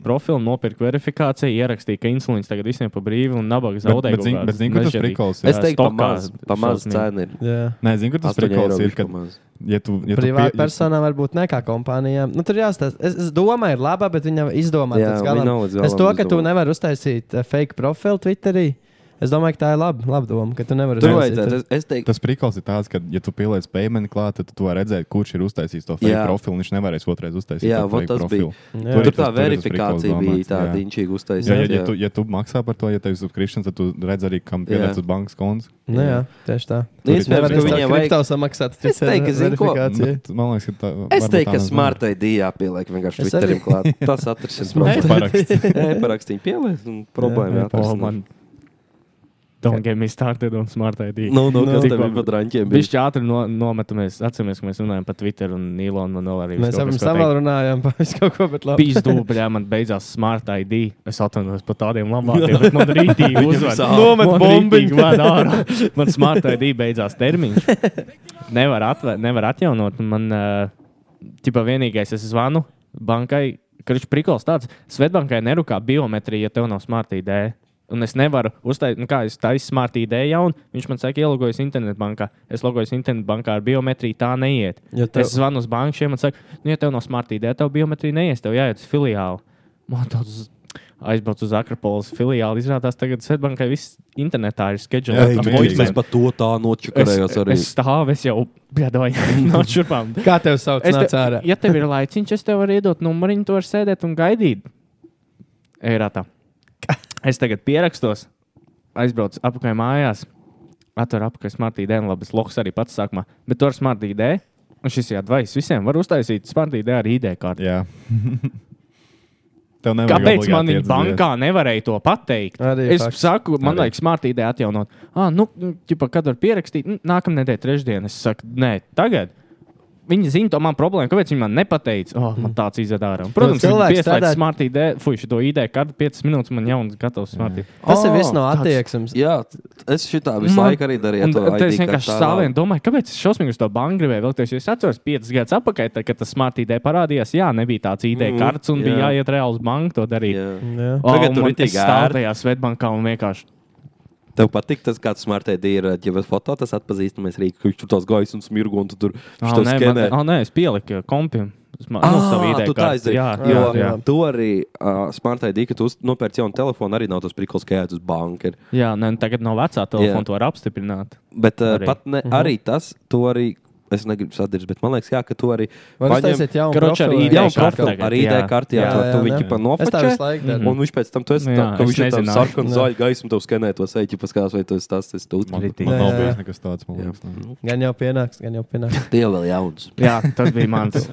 uztaisīja profilu, nopirka verifikāciju, ierakstīja, ka insulīns tagad visiem pa brīvu un nabaga zaudē.
bet zini- bet zini, kur tas prikols ir?
Es
Jā,
teiktu, pamaz, pamaz cena ir.
Jā.
Nē, zinu, kur tas
8 eiro
prikols ir.
viņš
Kad,
pamaz.
ja tu, ja tu
Privāta
pie- ja-
personā varbūt ne kā kompānijām. Nu, tur jāstāsta. Es, es domāju, ir laba, bet viņa izdomā
Jā,
līdz galam.
viņa nav līdz galam
Es to, ka tu
izdomāta.
nevari uztaisīt eh, fake profilu Twitterī. Es domāju, ka tā ir laba, laba doma, ka tu nevari
Tur
uztaisīt.
vajadzētu, es, es teiktu,
Tas prikols ir tāds, ka, ja tu pieliec payment klāt, tad tu vari redzēt, kurš ir uztaisījis to fake
Jā.
profilu. un Viņš nevarēs otrreiz uztaisīt
Jā,
to
vot
fake
tas
profilu.
Jā.
Tur ir
tur tā
tas- tur ir tas prikols
verifikācija bija
domāts,
tāda
jā.
inčīga
Jā, ja, ja,
uztaisīta.
tu, ja tu maksā par to, ja tev ir subscription, tad tu redz arī, kam pieder
Jā.
uz bankas konts.
Nu, jā, tieši tā.
Nu,
Tur ir
Es nevaru,
tas-
ka viņiem vajag.
tev samaksāt.
Es teiktu, ka zini ko?
verifikācija.
[LAUGHS]
Nu, Man liekas, ka tā
Es
varbūt
teiktu,
tā
ka
nav
smartai dīvai jāpieliek vienkārši
Es arī.
Twitterim klāt. Tas atrisinās
domāta.
problēmu.
Paraksts.
[LAUGHS] Parakstīju pieliet un problēmu
Oh,
atrisinās.
man. Don't get me started on smart ID.
Nu, nu, kas
Tikko-
tev ir pat raņķiem
Viņš
bijis?
ātri no, nometamies. Atceramies, ka mēs runājam par Twitter un Nīlonu. Man vēl arī
Mēs
viss kaut
jau
kas,
pirms
ko
tam
teikt.
vēl runājām par visu kaut ko, bet labi.
Pīzdūbeļā man beidzās smart ID. Es atvainojos par tādiem labākiem, bet man rītīgi uzvārds.
sāp.
Nomet bombiņu.
Man smart ID beidzās termiņš. Nevar, atve, nevar atjaunot. un Man, tipā vienīgais, es zvanu bankai, kurš prikols tāds, Svetbankai nerukā biometrija, ja tev nav smart ID. Un es nevaru uztaisīt, nu kā es taisu smart ID jaunu. Viņš man saka, ielogojos internetbankā. Es logojos internetbankā ar biometriju, tā neiet.
Jo tev-
Tev... Es zvanu uz banku, šiem man saka, nu, ja tev nav smart ID, tev biometrija neies, tev jāiet uz filiāli. Man tāds aizbraucu uz Akropolis filiāli. Izrādās, tagad Svetbankai viss internetā ir
Jā,
skedžulēts.
jā,
ar
jā.
voicemail.
Mēs par to tā
Es,
nočakarējos arī.
es stāvu, es jau [LAUGHS] bļadoju no šurpām.
Kā tev sauc?
Es
Nāc
te,
ārā.
ja tev ir laiciņš, es tev varu iedot numuriņu, to var sēdēt un gaidīt. Eirātā. Es tagad pierakstos, aizbraucu apakaļ mājās, atveru apakaļ smartphone dēļ, labi, es loks arī pats sākumā, bet tur ar smartphone dēļ. Un šis ir atvaļs visiem. Var uztaisīt smartphone dēļ ar ID kārtu.
Jā. Tev nevajag
Kāpēc
obligāti
man viņa
iet uz
bankā nevarēja to pateikt?
Arī
es
fakts.
saku, man
Arī.
liekas, smart ideja atjaunot. nu, Ah, nu, ķipa, kad var pierakstīt, nākamā nedēļa, trešdiena. Es saku, nē, tagad. Viņi zina, to man problēma. Kāpēc viņi man nepateica? Oh,
Mm.
man tāds izdarā. Protams,
cilvēks
cilvēks tādā
tādā-
smartī dēļ, fuj, šo ID kartu 5 minūtes man jauns gatavs smartī.
Tas ir
Ā,
viens no
tāds-
attieksmes.
Jā, es šitā visu
Man-
laiku arī darīju. ar
Un
to
tad es
ID
vienkārši
kartā.
stāvēju un domāju, kāpēc es šausmīgi uz to banku gribēju vēlties. Jo Es atceros, piecus gadus atpakaļ, tad, kad tas smart ID parādījās, jā, nebija tāds ID
Mhm,
karts un
jā.
bija jāiet reāli uz banku to darīt.
Jā.
Jā.
O,
Tagad
un
tur
man-
ritīgi
es stāvu
ērti.
tajā Svetbankā un vienkārši.
Tev patīk tas, kāds smartēdi ir. Ja vēl foto tas atpazīstamais rīks, ka viņš tur tās gaisa un smirgu un tu tur
Ah,
šito
nē,
skenē.
man, ah, nē, es pieliku kompiju. Es ma- Nu, savu
Ā,
ID
tu tā
karti.
izdarīji.
Jā,
Jo
jā, jā.
Tu arī uh, smartēdi, ka tu uz- nopērci jaunu telefonu, arī nav tas priklis, ka jāiet uz banku. ir.
jā nē, nu tagad no vecā
Jā.
telefona to var apstiprināt.
Bet uh,
Arī.
pat ne, arī tas, tu arī, es negribu sadirst, bet man liekas, jā, ka tu arī
Var
paņem-
uztaisīt jaunu
Kroč, ar
profilu,
ID
jā,
Jaunu
kaut
karti
kā.
karti,
tagad,
ar ID
jā.
karti, jā,
Jā,
jā,
jā,
tu
jā.
viņu pa
Es tā
nofočē.
visu laiku
Mhm.
daru.
Un viņš pēc tam to jāsaka,
Jā,
ka
es
viņš ir tāds
nezināju.
sarkans,
Jā.
zaļš, gaisa, un tev skanē to seķi, paskatās, vai tas tas ir
Man,
stūlis.
Kritīgi.
man nav
Jā.
bijis nekas tāds, man liekas. ne.
Gan jau pienāks, gan jau
[LAUGHS]
pienāks.
Tie vēl jauns.
Jā, tas bija [LAUGHS] mans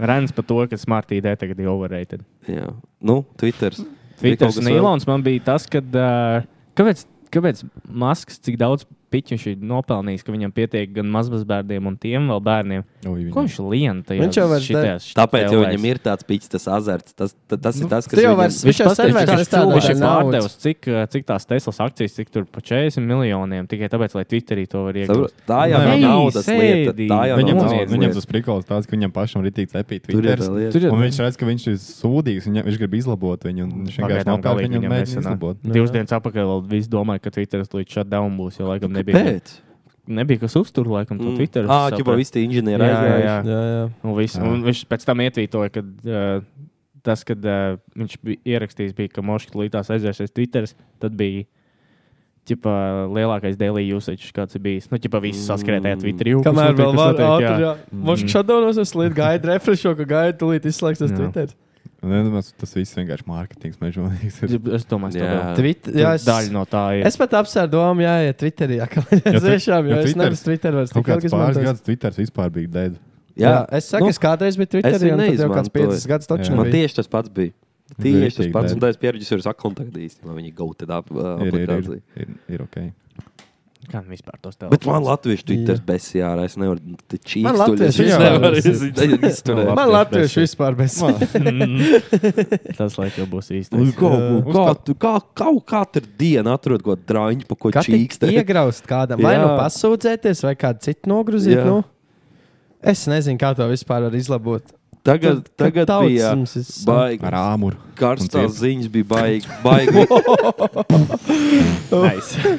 rants par to, ka smart ID tagad ir overrated.
Jā, nu, Twitters.
Twitter
Bija kaut kas
un
vēl?
Ilons man bija tas, kad, uh, kāpēc, kāpēc Masks tik daudz piķu viņš ir nopelnījis, ka viņam pietiek gan mazbērniem un tiem vēl bērniem.
Oi, viņa.
Ko viņš lien tajā?
Viņš jau vairs
Tāpēc jau viņam ir tāds pīķis, tas azarts. Tas, ta- tas ir tas, kas
tu jau
viņam-
vairs-
Viņš
Viņš
jau
jau
sen
sen vairs
vairs
vairs tādā
viņš ir
naudas.
pārdevis, cik, uh, cik tās Teslas akcijas, cik tur pa 40 miljoniem, tikai tāpēc, lai Twitterī to var
Saprot?
iegūt.
Tā jau nav
Nē,
naudas lieta.
sēdī.
Tā jau
Viņam,
nav
tas,
naudas
viņam
lieta.
tas prikals tāds, ka viņam pašam ir tik lepīgi
Tur ir
Twitter.
tā lieta.
Tur ir-
Un viņš redz, ka viņš ir sūdīgs, viņa, viņš grib izlabot viņu. un Viņš vienkārši
Pagaidām
nopelna
galīgi
viņam
viņam
mēģina
nesanāk.
izlabot.
Divas dienas atpakaļ vēl visi domāja, ka Twitter līdz šādi down būs, jo laikam nebija,
Pēc?
nebija kas uztur laikam
Mm.
Mm.
to Twitter.
Ah, jau visi tie inženieri
Jā, jā,
aizgājuši.
jā.
Jā, jā.
Un, viss,
Jā.
un viņš pēc tam ietvītoja, ka uh, tas, kad uh, viņš bija ierakstījis, bija, ka Moškas līdās aizvērsies Twitter, tad bija ķipa, lielākais daily usage, kāds ir bijis. Nu, ķipa, viss saskrēja Twitterī. "Jū, kas
Kamēr
notiek,
vēl
kas
var
notiek?"
ātri,
Jā.
jā. Mošk šadonos es līdz gaidu refresho, ka gaidu tūlīt izslēgsies
Jā.
Twitter.
Un, nedomās, Tas viss vienkārši mārketings mežonīgs. ir.
Es domāju, ka
Jā.
tā
Twitter,
ir
jā, es,
daļa no tā. Ir.
es pat apsēru domu, jā, ja Twitterī, jā, [LAUGHS] ka
Jo
es
tu-
tiešām,
jo
jo es
Twitters-
nevis Twitter vairs
[LAUGHS] Kaut
tik
kāds
ilgi
pāris
izmantoju.
gadus Twitter vispār bija dead.
Jā, es saku,
Nu,
es kādreiz biju
es viņu
Twitterī, un tad jau kāds
neizmantoju.
5 gadus
Jā.
taču
Man
nebija.
tieši tas pats bija. Tieši tas
Rītīgi,
pats,
bet-
un tā es pieredzēju, ir sakontaktā īstenībā viņa gauta
Ir, ir, ir,
aplikācija.
ir, ir ok.
Kā vispār tos tev?
Bet man latviešu Twitter besijā, es nevaru, te čīkstuļi.
Man latviešu
es
jā.
nevaru
izturēt.
iz- izturēt.
Man latviešu
Latviešu
vispār bez.
tas laikam būs
Ui,
īstais.
Kā,
Uz
kā,
tā-
tu- kā, kā katru dienu atrod kaut ko drāņu, pa ko
Kā tik
čīkstē?
iegraust kādam, vai nu
Jā.
pasūdzēties, vai kādu citu nogruzīt.
Jā.
Nu? Es nezinu, kā to vispār var izlabot.
Tagad, tagad bija baigi.
Ar āmuru.
Karstās ziņas bija baigi. baigi.
[LAUGHS]
[LAUGHS]
Nice.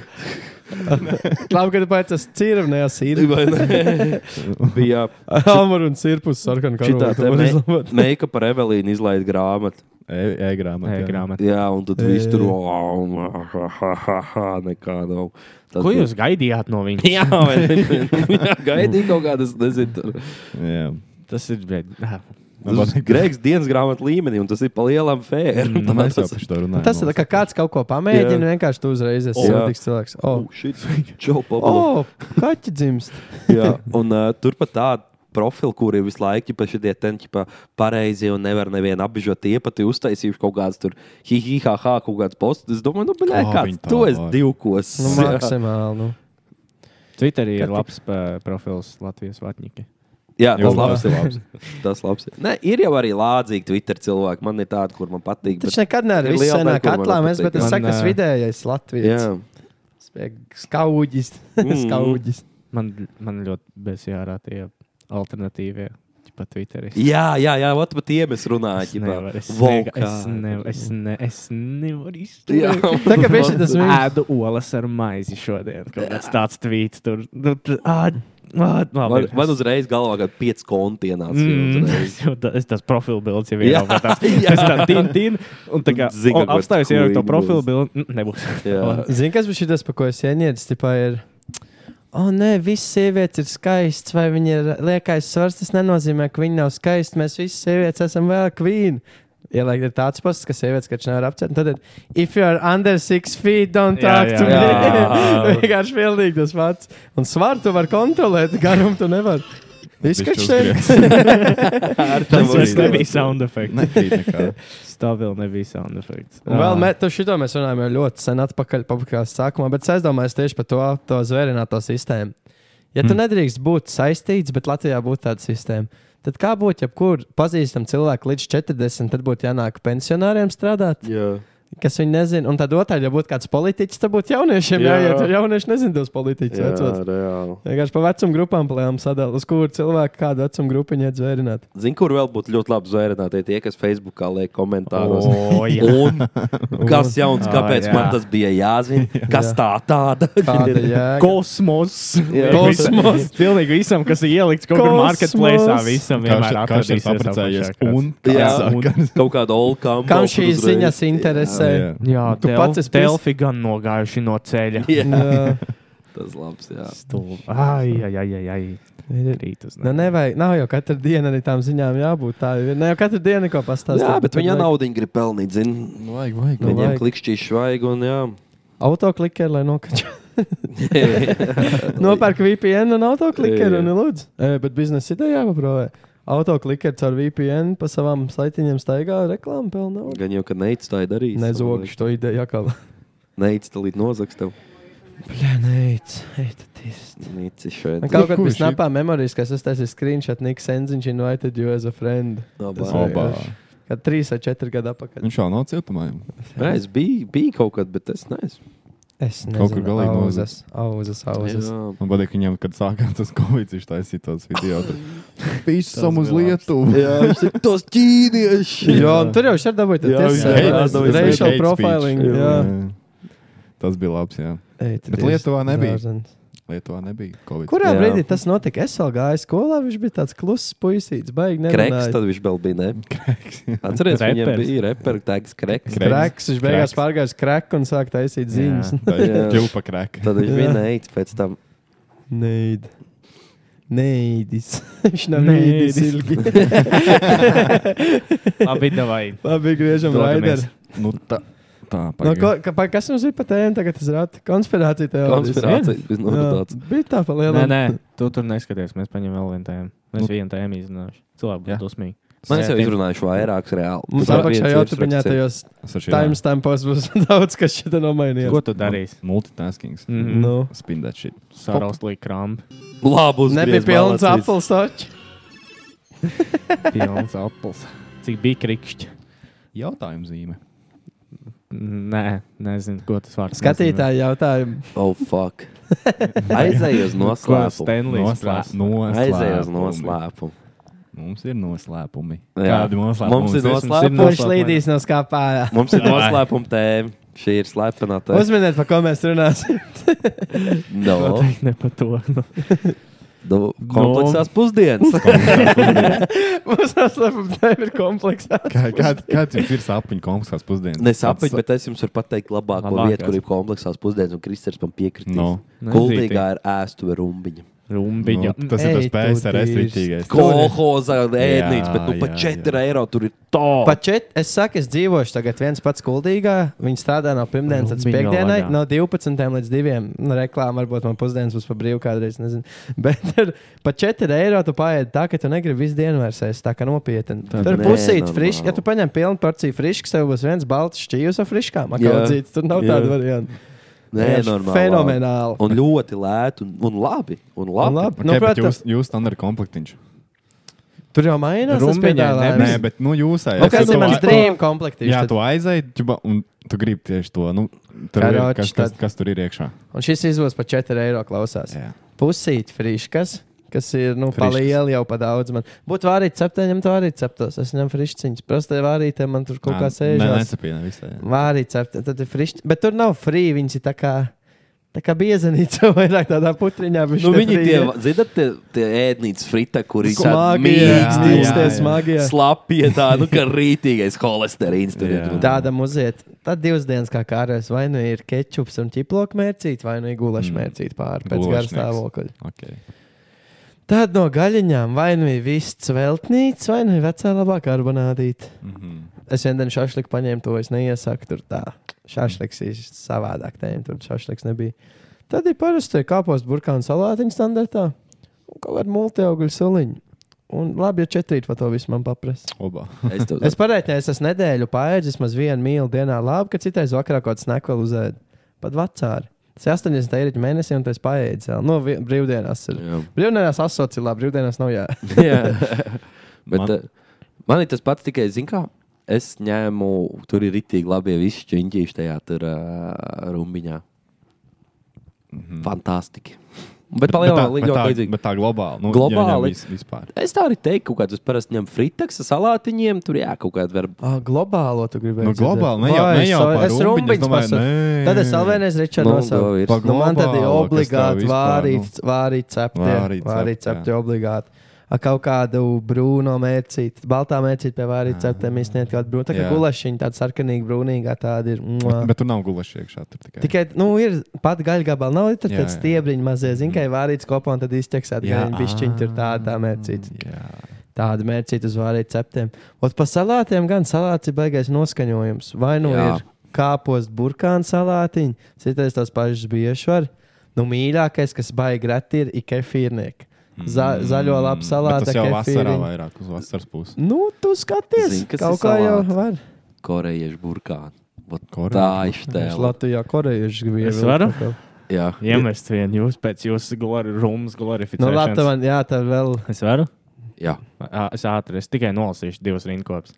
[LAUGHS] Labi, ka tu pats esi cīrvnējā sīrvā.
[LAUGHS] Vai ne? bija
Amor un sirpus sarkanu
šitā te
karogu.
me- make-up par Evelīnu izlaid grāmatu.
E, E-grāmatā.
Nē, grāmata.
Jā, un tad
Jā,
viss
jā,
tur
jā.
- nekā nav. Tad,
Ko jūs gaidījāt no viņa?
[LAUGHS] Jā, vai ne? Jā, gaidīju kaut kādas, nezinu. tur.
Jā.
tas ir. bet, ah,
Tas ir Grēks dienas grāmatā līmenī, un tas ir pa lielam fēram.
Nu, Mēs jau par to runājam.
Tas ir tā, kā kāds kaut ko pamēģina, vienkārši tu uzreiz esi
O, jā.
sūdīgs cilvēks.
Oh,
O,
[LAUGHS]
Čau,
O,
pablo.
kaķi dzimst.
Jā, un uh, turpat tāda profila, kur ir visu laiku pa šie tenči pareizi un nevar nevienu apbežot. Tie pat ir uztaisījuši kaut kādas tur hihihaha, kaut kādas postus. Es domāju, nu, blē,
Kā
kāds
viņi tā
to es
var?
divkos.
Nu,
[LAUGHS] Jā.
maksimāli. Nu.
Twitterī
Kā
ir
tik-
labs pa- profils Latvijas vatņikiem.
Jā,
Jū,
tas labs ir
labs.
labs. Tas labs. ir. Nē, ir jau arī lādzīgi Twitter cilvēki. Man ir tādi, kur man patīk.
Taču nekad neesmu
ir
bijis
liela daļa,
senāk
kur man
atlāmēs, bet
nepatīk.
es saku,
Man,
tas
ā,
vidējais Latvijas.
Jā,
Skauģis.
Mm.
Skauģis.
Man, man ļoti bezjārā tie alternatīvie, pat Twitterī.
jā, jā, jā vat pat tiem es runāju.
Es
ķipā,
nevaru, es
Volkā.
vienkār- es nevaru, es ne- es nevaru
Jā.
izturēt.
Tā kā bija tas mīļākais.
Ēdu olas ar maizi šodien. Kaut kāds tāds tvīts tur. Nu, t- ā, ā,
Man,
labi.
man uzreiz galvā ir pieci konti ienāca.
Mm,
Mm.
es jau tā- es tas profilbilds jau ir.
Jā, jā.
Es tam tīnu, tīnu. Un tā kā
Zinu,
o,
kur
apstājos jau to
queen
profilbildu. n- Nebūs.
Jā.
Zini, kas bija šis, par ko es ienīdu? Tipā ir, o, nē, visas sievietes ir skaistas, vai viņa ir liekais svars. Tas nenozīmē, ka viņa nav skaista. Mēs visi sievietes esam vēl kvīni. Ielaikt ir tāds posts, ka sievietes taču nevar apcerēt. Tad, ir, if you are under six feet, don't
Jā,
talk
jā,
to
jā.
me. [LAUGHS] Vienkārši pilnīgi tas pats. Un svaru tu var kontrolēt, garumu tu nevar. Viss, kas šeit ir.
[LAUGHS] Tas vairs
bija-
nebija sound effects. [LAUGHS]
ir.
Tā vēl nebija sound effects. Ah.
Un Vēl mēs par šo mēs runājām jau ļoti sen atpakaļ, pakāpstā sākumā, bet es aizdomājos tieši par to, to zvērināto sistēmu. Ja
Hmm.
tu nedrīkst būt saistīts, bet Latvijā būtu tāda sistēma, tad kā būtu, ja kur pazīstam cilvēku līdz 40, tad būtu jānāk pensionāriem strādāt?
Jā.
kas viņu nezina. Un tad otrādi, ja būtu kāds politiķis, tad būtu jauniešiem
Jā.
jāiet. jo Jaunieši nezina tos politiķus. vecos.
reāli.
Vienkārši pa vecuma grupām plēnām sadalīt, uz kuru cilvēku kādu vecuma grupu iet zvērināt.
Zini, kur vēl būtu ļoti labi zvērināti tie, kas Facebookā liek komentāros.
O, jā.
[LAUGHS] Un kas jauns, kāpēc
jā.
man tas bija jāzina? Kas tā tāda?
Kāda jēga?
Kosmos.
[LAUGHS] Jā.
Kosmos.
Pilnīgi visam, kas ir ielikts kaut kur
Kosmos.
marketplaceā, visam vienmēr
Vienmēr kā šis apprecējies
atradīsies apakšā, kas-
un
Jā, un
sākas.
kaut kāda olkām.
Kam šīs ziņas interesē?
Jā.
Jā,
Tu
tu
pats
pats
esi
esi telfi gan nogājuši no ceļa.
Jā,
Jā.
tas labs, jā.
Stulbi. Ai, ai, ai, ai, ai.
Ir-
Rītas,
Nu, nevajag, nav jau katru dienu arī tām ziņām jābūt. Tā jau ir. Ne jau katru dienu neko pastāstīt.
Jā, bet viņa
vajag
naudu grib pelnīt, zina.
Vajag, vajag.
Nu,
Viņam
vajag.
klikšķīši vajag, un jā.
[LAUGHS] Autoklikeri, lai nokačā. [LAUGHS] Nopērk VPN un autoklikeri un lūdzu. E, bet biznesa ideja jāpaprāvē. Autoklikeri caur VPN pa savām saitiņiem staigā reklāmu pelnā.
Gan jau, ka neizstāja darīt.
Nezogšu to ideju, ja [LAUGHS] kā
Neizstāja nozags tev.
plakāta.
Nici šeit.
Nu, Kaut kā
Kurš
bija snapā memorijas, kas es taisīju screenshot, Niks Enziņš invited you as a friend.
Labā.
Obā.
Kad trīs vai četri gadi atpakaļ.
Viņš jau nav cietumā. jau.
Reiz bija, bija kaut kad, bet es neesmu.
Es nezinu,
Kaut kur galīgi
auzas, auzas, auzas.
Jā.
Man patīk, viņam, kad sākās tas covid, viņš taisīja tos video. tur. Visam uz Lietuvu.
Jā, viņš ir tos ķīnieši.
Jā, un tur jau šeit dabūjāt
Jā,
tas
viņš ir
uh,
atdevis
racial
hate speech.
profiling.
Jā.
Jā.
Tas bija labs, jā.
Ei,
Bet
trīs
Lietuvā nebija.
dārzens.
Lietuvā nebija covid.
Kurā
Jā.
brīdī tas notika? Es vēl gāju skolā, viņš bija tāds kluss puisīts, baigi
Kreks,
nerunāja.
tad viņš vēl bija. Ne? [LAUGHS] Atcerieties, viņam
Repers.
bija reperu tēgs Kreks.
Kreks.
Kreks, viņš beigās
Kreks.
pārgājis krēku un sāk taisīt
Jā.
ziņas.
Tā ir
Jā.
ķilpa krēka.
Tad viņš bija neicis pēc tam.
Neid. Neidis. [LAUGHS] Viņš nav
Neidis.
neidis ilgi.
[LAUGHS] Labi, davai.
Labi, griežam
Dodamies.
raideri.
Nu, tā. Tā,
No,
pagaid.
ko, ka, pa- kas mums ir pa tēmu tagad? Es rādu konspirāciju teorijas.
Konspirācija. Viņš nav tāds.
Jā, Bija tā pa
Nē,
lielam.
nē, tu tur neskaties. Mēs paņemam vēl vienu tēmu. Mēs vienu tēmu izzināšu. Cilvēki
Jā.
būs dusmīgi.
Man jau
Jā.
izrunājuši vairākus reāli.
Mums
Tur
apakšā
viens
jau
virs
turpinājā
raksts ir.
tajos
Es ar šī-
timestampos būs [LAUGHS] daudz, kas šeit nomainījās.
Ko tu darīsi?
Nu, Multitaskings.
Mhm.
Nu.
Spindēt šī.
Sāraust līdz krampi.
Labi, uz
Nebija pilns apels taču.
Pilns apels. Cik bija krikšķi?
Jautājums zīme.
Nē, nezinu, ko tas vārds.
Skatītāji jautājumu.
Oh,
[LAUGHS]
fuck. Aizēju uz noslēpumu.
Stenlijs Nu, prasa.
Aizēju uz
Noslēpumi.
noslēpumu.
Mums ir noslēpumi.
Jā.
Kādi noslēpumi?
Mums ir noslēpumi.
Kurš līdīs no skāpā?
Mums
[LAUGHS]
ir noslēpuma tēma. Šī ir slepena tēma.
Uzminiet, par ko mēs runāsim.
No,
[LAUGHS]
Noteikti ne par to. nu.
no kompleksās
[LAUGHS]
pusdienas.
[LAUGHS] Mums noslēpuma tēma ir kompleksā.
Kā- Kāds kāds jums ir sapņu komiskās pusdienas?
Ne sapņot, bet es jums varu pateikt labāko
Labākais.
vietu, kur ir kompleksās pusdienas, un Kristers man piekritīs.
No.
Kultīgā ir ēstuve rumbiņa.
Rumbiņa.
Nu, tas ir tas
Ei, tu
PSRS
tīrs.
rītīgais.
Kolhoza ēdnīca, bet nu pa
jā,
4 eiro tur ir tā.
Pat šeit, es saku, es dzīvošu tagad viens pats gudrīgā. Viņa strādā no
Nu,
pirmdienas līdz
Rubiņo
piekdienai,
vaļā.
no 12 līdz 2. Nu, reklāmā varbūt man pusdienas būs pa brīvu kādreiz, nezinu. [LAUGHS] Bet ar- pat 4 eiro tu paiet tā, ka tu negribi visu dienu vairs ēst, tā kā nopietni.
Tad
Tur
nē,
pusīt
normāli.
frišs, ja tu paņem pilnu porciju frišs, tev būs viens balts šķīvis ar friškām.
Jā.
Akaudzīts, tur nav
Jā.
tāda varianta.
Nē,
Vienkārši
normāli.
Fenomenāli.
Un ļoti lēti, un, un labi. Un labi.
Un labi.
Okay,
Nu,
nu, bet
protams.
jūs, jūs standarta komplektiņš.
Tur jau mainās. tas
Rumbiņai
piedāvājums.
nebija.
Nē, bet nu, jūs
Nu, Kas ir mans dream
Jā, tu
komplektīvs?
aizēji, ķiba, un tu gribi tieši to. Nu, tur ir,
Karoči,
kas, kas,
tad.
kas tur ir iekšā?
Un šis izdos par 4 eiro klausās.
Jā.
pusīt friškas, kas ir nu,
Friškas.
palieli jau pa daudz. Man. Būtu vārīt ceptē, ņemt vārīt ceptos. Es ņemu frišķiņas. Prastai vārītē man tur kaut kā
Nē,
sēžās.
nesapiena visai. jā.
Vārīt ceptē, tad ir frišķi. Bet tur nav frī, viņas ir tā kā, tā kā biezenīca [LAUGHS] vairāk tādā putriņā. bišķi
Nu,
tie
viņi
frī
tie,
ir.
zinat, tie, tie ēdnīcas frita, kur ir tādi
Smagie,
mīksti,
jā,
stīkstie,
jā.
smagie.
slapji, tā, nu, ka rītīgais holesterīns tur ir.
Jā.
Tāda muziet, tad divas dienas kā kārēs, vai nu ir kečups un ķiploka mērcīt, vai nu ir gulaša
Mm.
mērcīt pāri pēc
Gulašnieks.
gara stāvokļa.
Okay.
Tad no gaļiņām vai nu ir vists veltnīts, vai nu ir vecā labā karbonādīte.
Mm -hmm.
Es vienā dienā šāφliku paņēmu, to es neiesaku. Tur tā šāφliks ir savādāk. Tēm, tur šāφliks nebija. Tad ir parasti kāpos burkānu salātiņa standartā un kaut kāda multiaugļu soliņa. Un labi, ja četrīt pa to visu man paprasti.
Oba.
Es tev
Es pareiķināju, es esmu nedēļu paēdis, maz vienu mīlu dienā labi, ka citais vakarā kaut kāds nekvēl uzēd. Pat vecāri. Tas ir 80 eiro mēnesī, un tas paiet vēl. Nu, vi- brīvdienās ir.
[LAUGHS]
Brīvdienās asociācijā labi, brīvdienās nav jā.
[LAUGHS] Bet,
Man-
man... man ir tas pats tikai, zin kā, es ņēmu, tur ir rītīgi labi visi čiņķīši tajā tur, uh, rumbiņā. Mm -hmm. Fantastiski. Bet
tā,
palielināt
Mhm. bet,
līniju
tā,
ļoti līdzīgi.
bet tā globāli. Nu,
Globāli?
Jā, jā, vispār.
Es tā arī teiktu, ka tas parasti ņem fritaksa salātiņiem, tur jā, kaut kāda verba.
Ah, globālo tu gribēji.
Nu, globāli, ne
dzirdēt.
jau-
Vai,
ne jau
so-
par
Es
rumbiņu, es
rumbiņš
domāju, nē.
pasaku. Tad es vēl vienreiz Ričardu
Nu,
nosaucu.
ir.
Pag-
Nu, man tad ir
Globālo, kas tev
obligāti
vispār, nu.
vārīt, vārīt cepti.
Vārīt
Vārīt
cepti,
cepti obligāti. Ar kaut kādu brūno mērcīti, baltā mērcīti pie vārīt ceptiem izsniegt kādu brūnu. Tā kā
Ah. Jā.
gulašiņa tāda sarkanīga, brūnīga tāda ir. Mua.
Bet, bet tur nav gulaši iekšā. Tur tikai.
Tikai, nu, ir pat gaļa gabala, nav tur
Jā,
tāds
jā.
stiebriņš mazie, zin, kā ir vārīts kopā un tad izteksēt,
Jā,
ka bišķiņi tur tāda tā mērcīta.
Jā.
Tāda mērķīta uz vāriem ceptiem. Ot, pa salātiem gan salāts ir baisais noskaņojums. Vai nu
Jā.
Jā. ir kāposts, burkāns salātiņa, citais tās pašas biežvaras. Nu, mīļākais, kas baigi reti ir, ir kefīrnieki. Za
Mm.
zaļo lapu salāta.
Mm. Tas jau vasarā
kefīriņi.
vairāk uz vasaras puses.
Nu, tu skaties,
Zini, kas
kaut
ir
kā jau
salāti?
var.
korejiešu burkānu. Vot
Koreja-
Tā ir
Es
stēla.
Latvijā korejieši gribēju.
Es
ievilkt
varu?
kaut ko.
Jā,
Iemest vienu jūs pēc jūsu glori, rumas glorifikācijas.
Nu, labi, man jā, tā vēl.
Es varu?
jā.
Ā, Es ātri, es tikai nolasīšu divus rindkopus.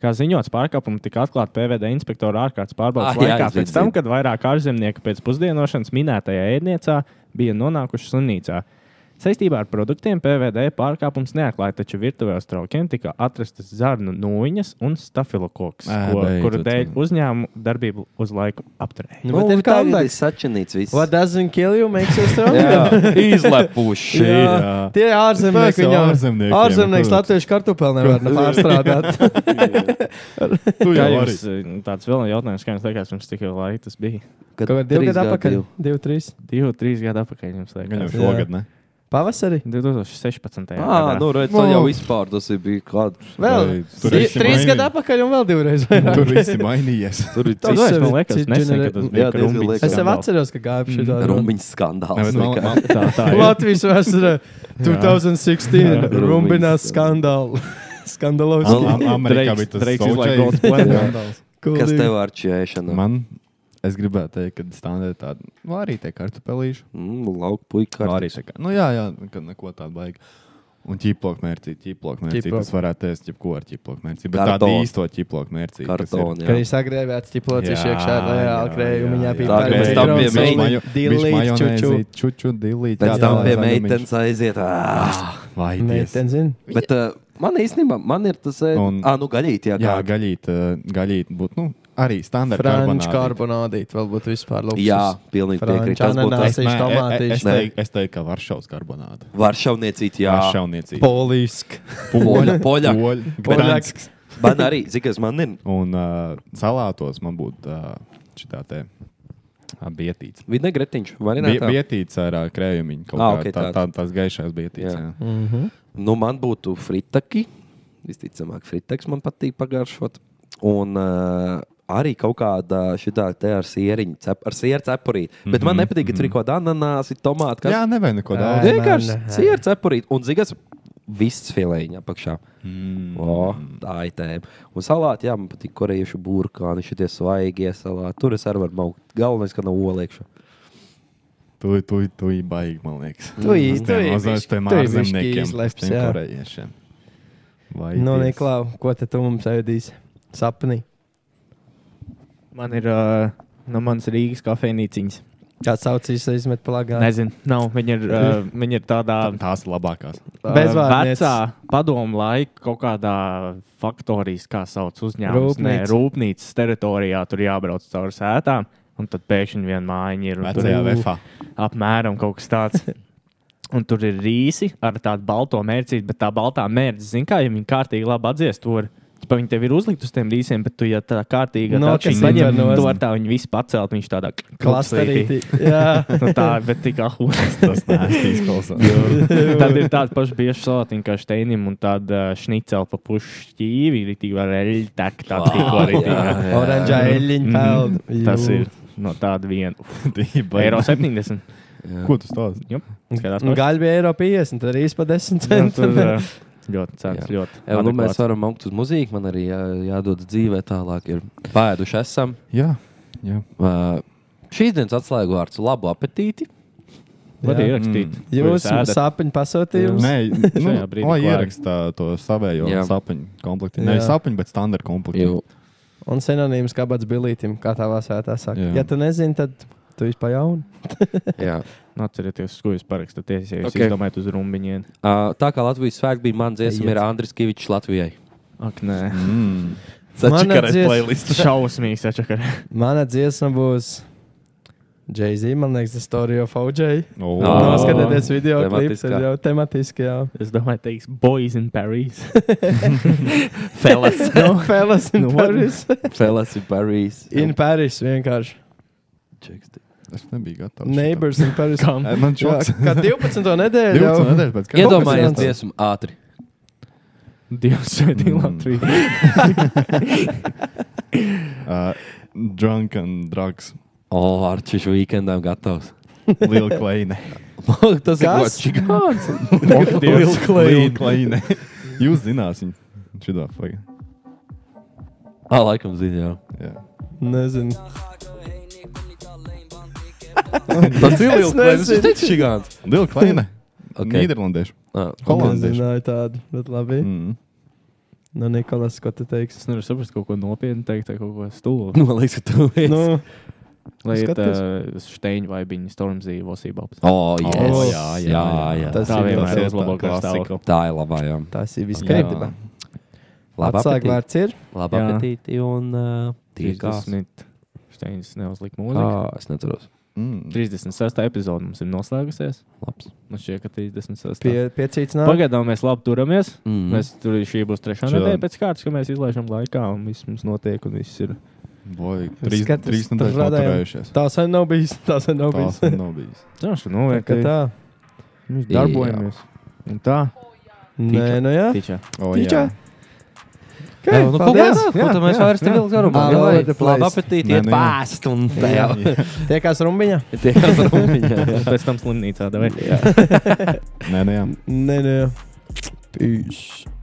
Kā ziņots, pārkāpumi tika atklāti PVD inspektora ārkārtas pārbaudas
Ah, jā,
laikā,
es
pēc
dzirdu.
tam, kad vairāk ārzemnieku pēc pusdienošanas minētajā ēdniecā bija nonākuši slimnīcā. Saistībā ar produktiem PVD pārkāpums neatklāja, taču virtuvē uz traukiem tika atrastas zarnu nūjiņas un stafilokoks,
Ā,
ko,
beidzot,
kuru dēļ
jā.
uzņēmumu darbību uz laiku apturēja.
Nu, bet ir
tā līnija,
kompleks.
kas sačinīts viss.
What doesn't kill you makes you stronger.
Jā, [LAUGHS] izlepuši.
Jā, [LAUGHS] tie ir
Tas
ārzemnieki.
jau
Viņam
ārzemniekiem,
ārzemnieks
protams.
latviešu kartupeli
[LAUGHS]
nevar ne pārstrādāt.
Tu
Kā
jau arī.
jums eh, tāds vēl jautājums, kā jums liekas, pirms cik ilga laika tas bija?
Kad
Kaut kā divi
trīs
gadi
gadi
atpakaļ.
jau.
Divi, trīs.
Divu, trīs gadu atpakaļ jums
Gan jau
liekas.
šogad, ne?
Pavasarī.
2016.
Ā,
gadā.
nu redz,
Wow.
tad jau vispār tas ir bija kāds.
Vēl
Vai tur
Tri-
esi
trīs
mainījies?
gadu atpakaļ un vēl
[LAUGHS]
divreiz.
Tur
vairāk.
viss ir
[LAUGHS]
mainījies.
Tur ir
Tas
Tas
sevi
man liekas,
cit-
nesen,
ģenerē-
kad tas
Jā,
bija
diezgan
Kolumbijas
liekas.
Es sev
skandāls.
atceros, ka gāju
Mm,
šī tā
Rumbiņas
Nē, bet
skandāls.
man-
nekā.
man-
Tā, [LAUGHS] tā ir.
Latvijas
[LAUGHS]
vēsturē 2016. Rumbinās
[LAUGHS]
skandālu.
Am-
Skandalos.
am- Amerikā bija tas
Dreiks izlaiž
Soulja- [LAUGHS]
Gold's Planet. Nu.
Kas tev ar ķēšanu?
Man, es gribēju teikt, ka standē tāda nu, vārītē kartupelīša.
Mm, lauk, puika.
Vārītē kā. Nu jā, jā, ka neko tādu baigi. Un ķīplok mērcīt, ķīplok mērcīt.
Ķīplok.
Tas varētu ēst jebko ar ķīplok mērcīt. Bet
Kartonu.
tāda īsto ķīplok mērcīt. kas ir-
Kartoni.
Kad
jā.
viņš sagrēvēja stiplocis iekšā ar reāli krējumu, viņa bija
Tā, pēc tam pie
pārmērķis. Dilīt, čuču.
Čuču, dilīt.
Pēc tam
jā,
pie
jā,
meitenes aiziet. ā.
Vai
Meitene zina.
Bet uh, man īstenībā, man ir tas,
Un-
ah, nu gaļīt, jā,
Jā,
kā.
gaļīt, eh, gaļīt būtu, nu, arī standarta
Franču karbonādīt, vēl būtu vispār luksus.
Jā, pilnīgi
Franču
piekrīt. Tas būtu
ananāsi.
tas
Tieši tomātiņš.
Es
Nē.
teiktu, es teiktu, ka Varšavas karbonāde.
varšavniecīts, jā.
Varšavniecība.
Poliski.
Poļa, poļa.
Poļa.
Poļaks.
Gdaņsks.
Man arī, zikās, man ir.
Un uh, salātos man būtu uh, šitā te ā, bietīts.
Vidne Gretiņš, vai ne?
Bie, bietīts ar uh, krējumiņu. Kaut
Ah,
kā
ok,
okay, tā,
tāds.
tā, tās gaišās bietīts. Jā.
Jā.
Mm.
Jā.
Nu, man būtu fritaki. Visticamāk, fritaks man patīk pagaršot. Un uh, arī kaut kāda šitā te ar sieriņu, cep, ar sieru cepurīti. Mm -hmm. Bet man nepatīk, ka tur ir kaut kāda ananāsi, tomāti.
jā,
Kas...
nevajag neko daudz.
Ai,
vienkārši
man-
sieru cepurīti. Un zigas, viss filēņa apakšā.
Mm.
O, tā ir tēma. Un salāti, jā, man patīk korejiešu burkāni, šitie svaigie salāti. Tur es arī varu maukt. Galvenais, ka nav olēkšu.
Tu, tu, tu ir baigi, man liekas.
Tu īsti- tu īsti-
Tiem mazajiem
tu īsti
ārzemniekiem,
izleps,
tiem
jā.
korejiešiem. Vai
Nu,
Dievs.
Niklau, ko tad tu mums aizvedīsi? Sapnī.
Man ir uh, no manas Rīgas kafejnīciņas.
Kā saucīs, izmet plakā.
Nezinu, nav. Viņa ir, uh, viņa ir tādā
Tā- Tās ir labākās.
uh,
bezvārnieca.
vecā padomu laika kaut kādā faktorijas, kā sauc uzņēmums, Nē,
Rūpnīca.
rūpnīcas teritorijā. Tur jābrauc caur sētām, un tad pēkšņi viena mājiņa ir. un tur
Vecajā
ir-
vefā.
apmēram kaut
[LAUGHS]
kas tāds. Un tur ir rīsi ar tādu balto mērcīti, bet tā baltā mērce, zināmā mērā, ja viņi kārtīgi labi atdzies to. Tāpēc viņi tev ir uzlikti uz tiem rīsiem, bet tu jau tā kārtīgi
No,
atšķiņ
kas
paņem,
nevar
to
nost.
ar tā viņu visu pacelt. Viņš tādā
Klasterīti.
klāstā.
Jā.
[LAUGHS] Nu, tā, bet tik
[LAUGHS]
ahūns.
Tas nāstīs klausās.
Tad ir tāds pašs biežs salātiņš kā steinim un tāda eh, šnicela pa pušu šķīvi, ir tik vēl eļļa, tā kā tā tikko
[LAUGHS]
arī.
[LAUGHS] jā.
Oranžā eļļiņa peld.
Tas ir no tāda viena. Eiro
[LAUGHS]
70.
Ko tu stāsti?
Jup, skatās paši.
Gaļa bija eiro 50, tad arī pa 10
Nu, tur,
centiem.
ā, Ļoti cēlies, ļoti.
Jā, nu, mēs
adekvāts.
varam augt uz muziku, man arī jā, jādodas dzīvē tālāk. Ir pēduši esam.
Jā, jā.
Uh, Šīs dienas atslēgvārds - labu apetīti.
Var
Jā.
ierakstīt. ko
Jūs mums
ēdat.
sāpiņu pasūtījums?
Nē, nu,
Šajā brīdī
lai
klāri.
ieraksta to savējo
Jā.
sapņu komplektu. Ne
Jā.
sapņu, bet standarta
[LAUGHS]
komplektu.
Un sinonīms kabats bilītim, kā tā vasētā saka.
Jā.
Jā. Ja tu nezini, tad tu vispār jauni.
Jā.
Nu, Atcerieties, uz ko jūs parakstāties. Ja jūs
Ok.
okay. izdomājat uz rumbiņiem,
Uh, tā kā Latvijas svētki bija mans dziesma, ir Andris Kavičs Latvijai.
ak, nē,
Mm.
Mana dzies-
tas ir šausmīgs. atšakar.
Mana dziesma būs Jay-Z, man liekas, The Story of OJ.
Oh.
Ā.
Noskatieties video klips,
Tematiskā.
ir jau tematiski, jā.
Es domāju, teiks, boys in Paris.
[LAUGHS]
Felas,
No Fellas in
Nu, what?
Paris.
[LAUGHS] Felas in Paris.
In Paris vienkārši.
Es nebiju gatavs.
Neighbors in Paris.
Kam?
šitam. Ai, Man
Jā,
šoks.
Kā 12. nedēļa jau.
12 nedēļas pēc kārtas.
Iedomājies
Kāpēc?
dziesmu ātri.
[LAUGHS] Dievs, sveitī
Mm.
Latviju.
Uh, Drunk and drugs.
O, Arčis weekendam [LAUGHS] gatavs.
Lil Kleine.
Tas ir
Kas?
gods.
Ak, Dievs.
Lil Kleine. Jūs zinās viņu. Šidā fagā.
Ah, laikam zini, jā.
Jā.
Nezinu.
[LAUGHS] Tas ir [LAUGHS]
Lil Kleine. nezinu.
Tas ir gigants.
Lil Kleine.
Ok.
Nīderlandieši. Holandieši.
Nezināju tādu, bet labi. Mm.
Mm.
Nu, Nikolas, ko tu teiksi?
Es nevaru saprast, kaut ko nopietnu teikt, vai kaut ko stulbu.
Man liekas, ka tu esi.
Nu,
Lai ir
skaties.
uh, Steņa vai viņa Stormzija vosībāps.
O, yes.
O,
Oh, jā, jā, jā.
Tas
Tā
ir
vienmēr
tas
ir
ir
uzlabo
tā
klasika.
Tā ir labā, jā.
tas ir viss
Jā.
kārtībā.
Labā apetīti.
Atslēgvārds ir.
Labā
Jā.
apetīti un uh, tiekās.
30. Steņas neuzlika mūziku.
Ah, es neatceros.
Mm.
36. epizode mums ir noslēgusies.
Labs.
Man šķiet, ka 36.
Pie, piecīts nav.
Pagaidām mēs labi turamies.
Mm.
Mēs tur šī būs trešā
Šodien.
nedēļa pēc kārtas, ka mēs izlaižam laikā un viss mums notiek un viss ir.
Boy,
Es
trīs,
skatos,
trīs
tur
nedēļas
radējam.
noturējušies.
Tā sen nav bijis. Tā sen nav
Tās
bijis. [LAUGHS]
man nav bijis.
Zināš, ka nu,
Kā
tā
tā?
mēs darbojamies. Un tā,
Nē, nu jā.
tičā.
O,
Tičā.
jā.
Okay,
nu, ko mēs, ko tad mēs vairs nevilks garumā?
All
Jā,
over
lai
the place.
labu apetīti,
Nē,
iet
nu, jā.
pāst un tā
Jā.
jau.
Tiekās rumbiņā?
Tie, kas [LAUGHS] rumiņā.
Pēc tam slimnīcā. davai.
nu
Nē, nē, jā.
Nē, nē. Peace.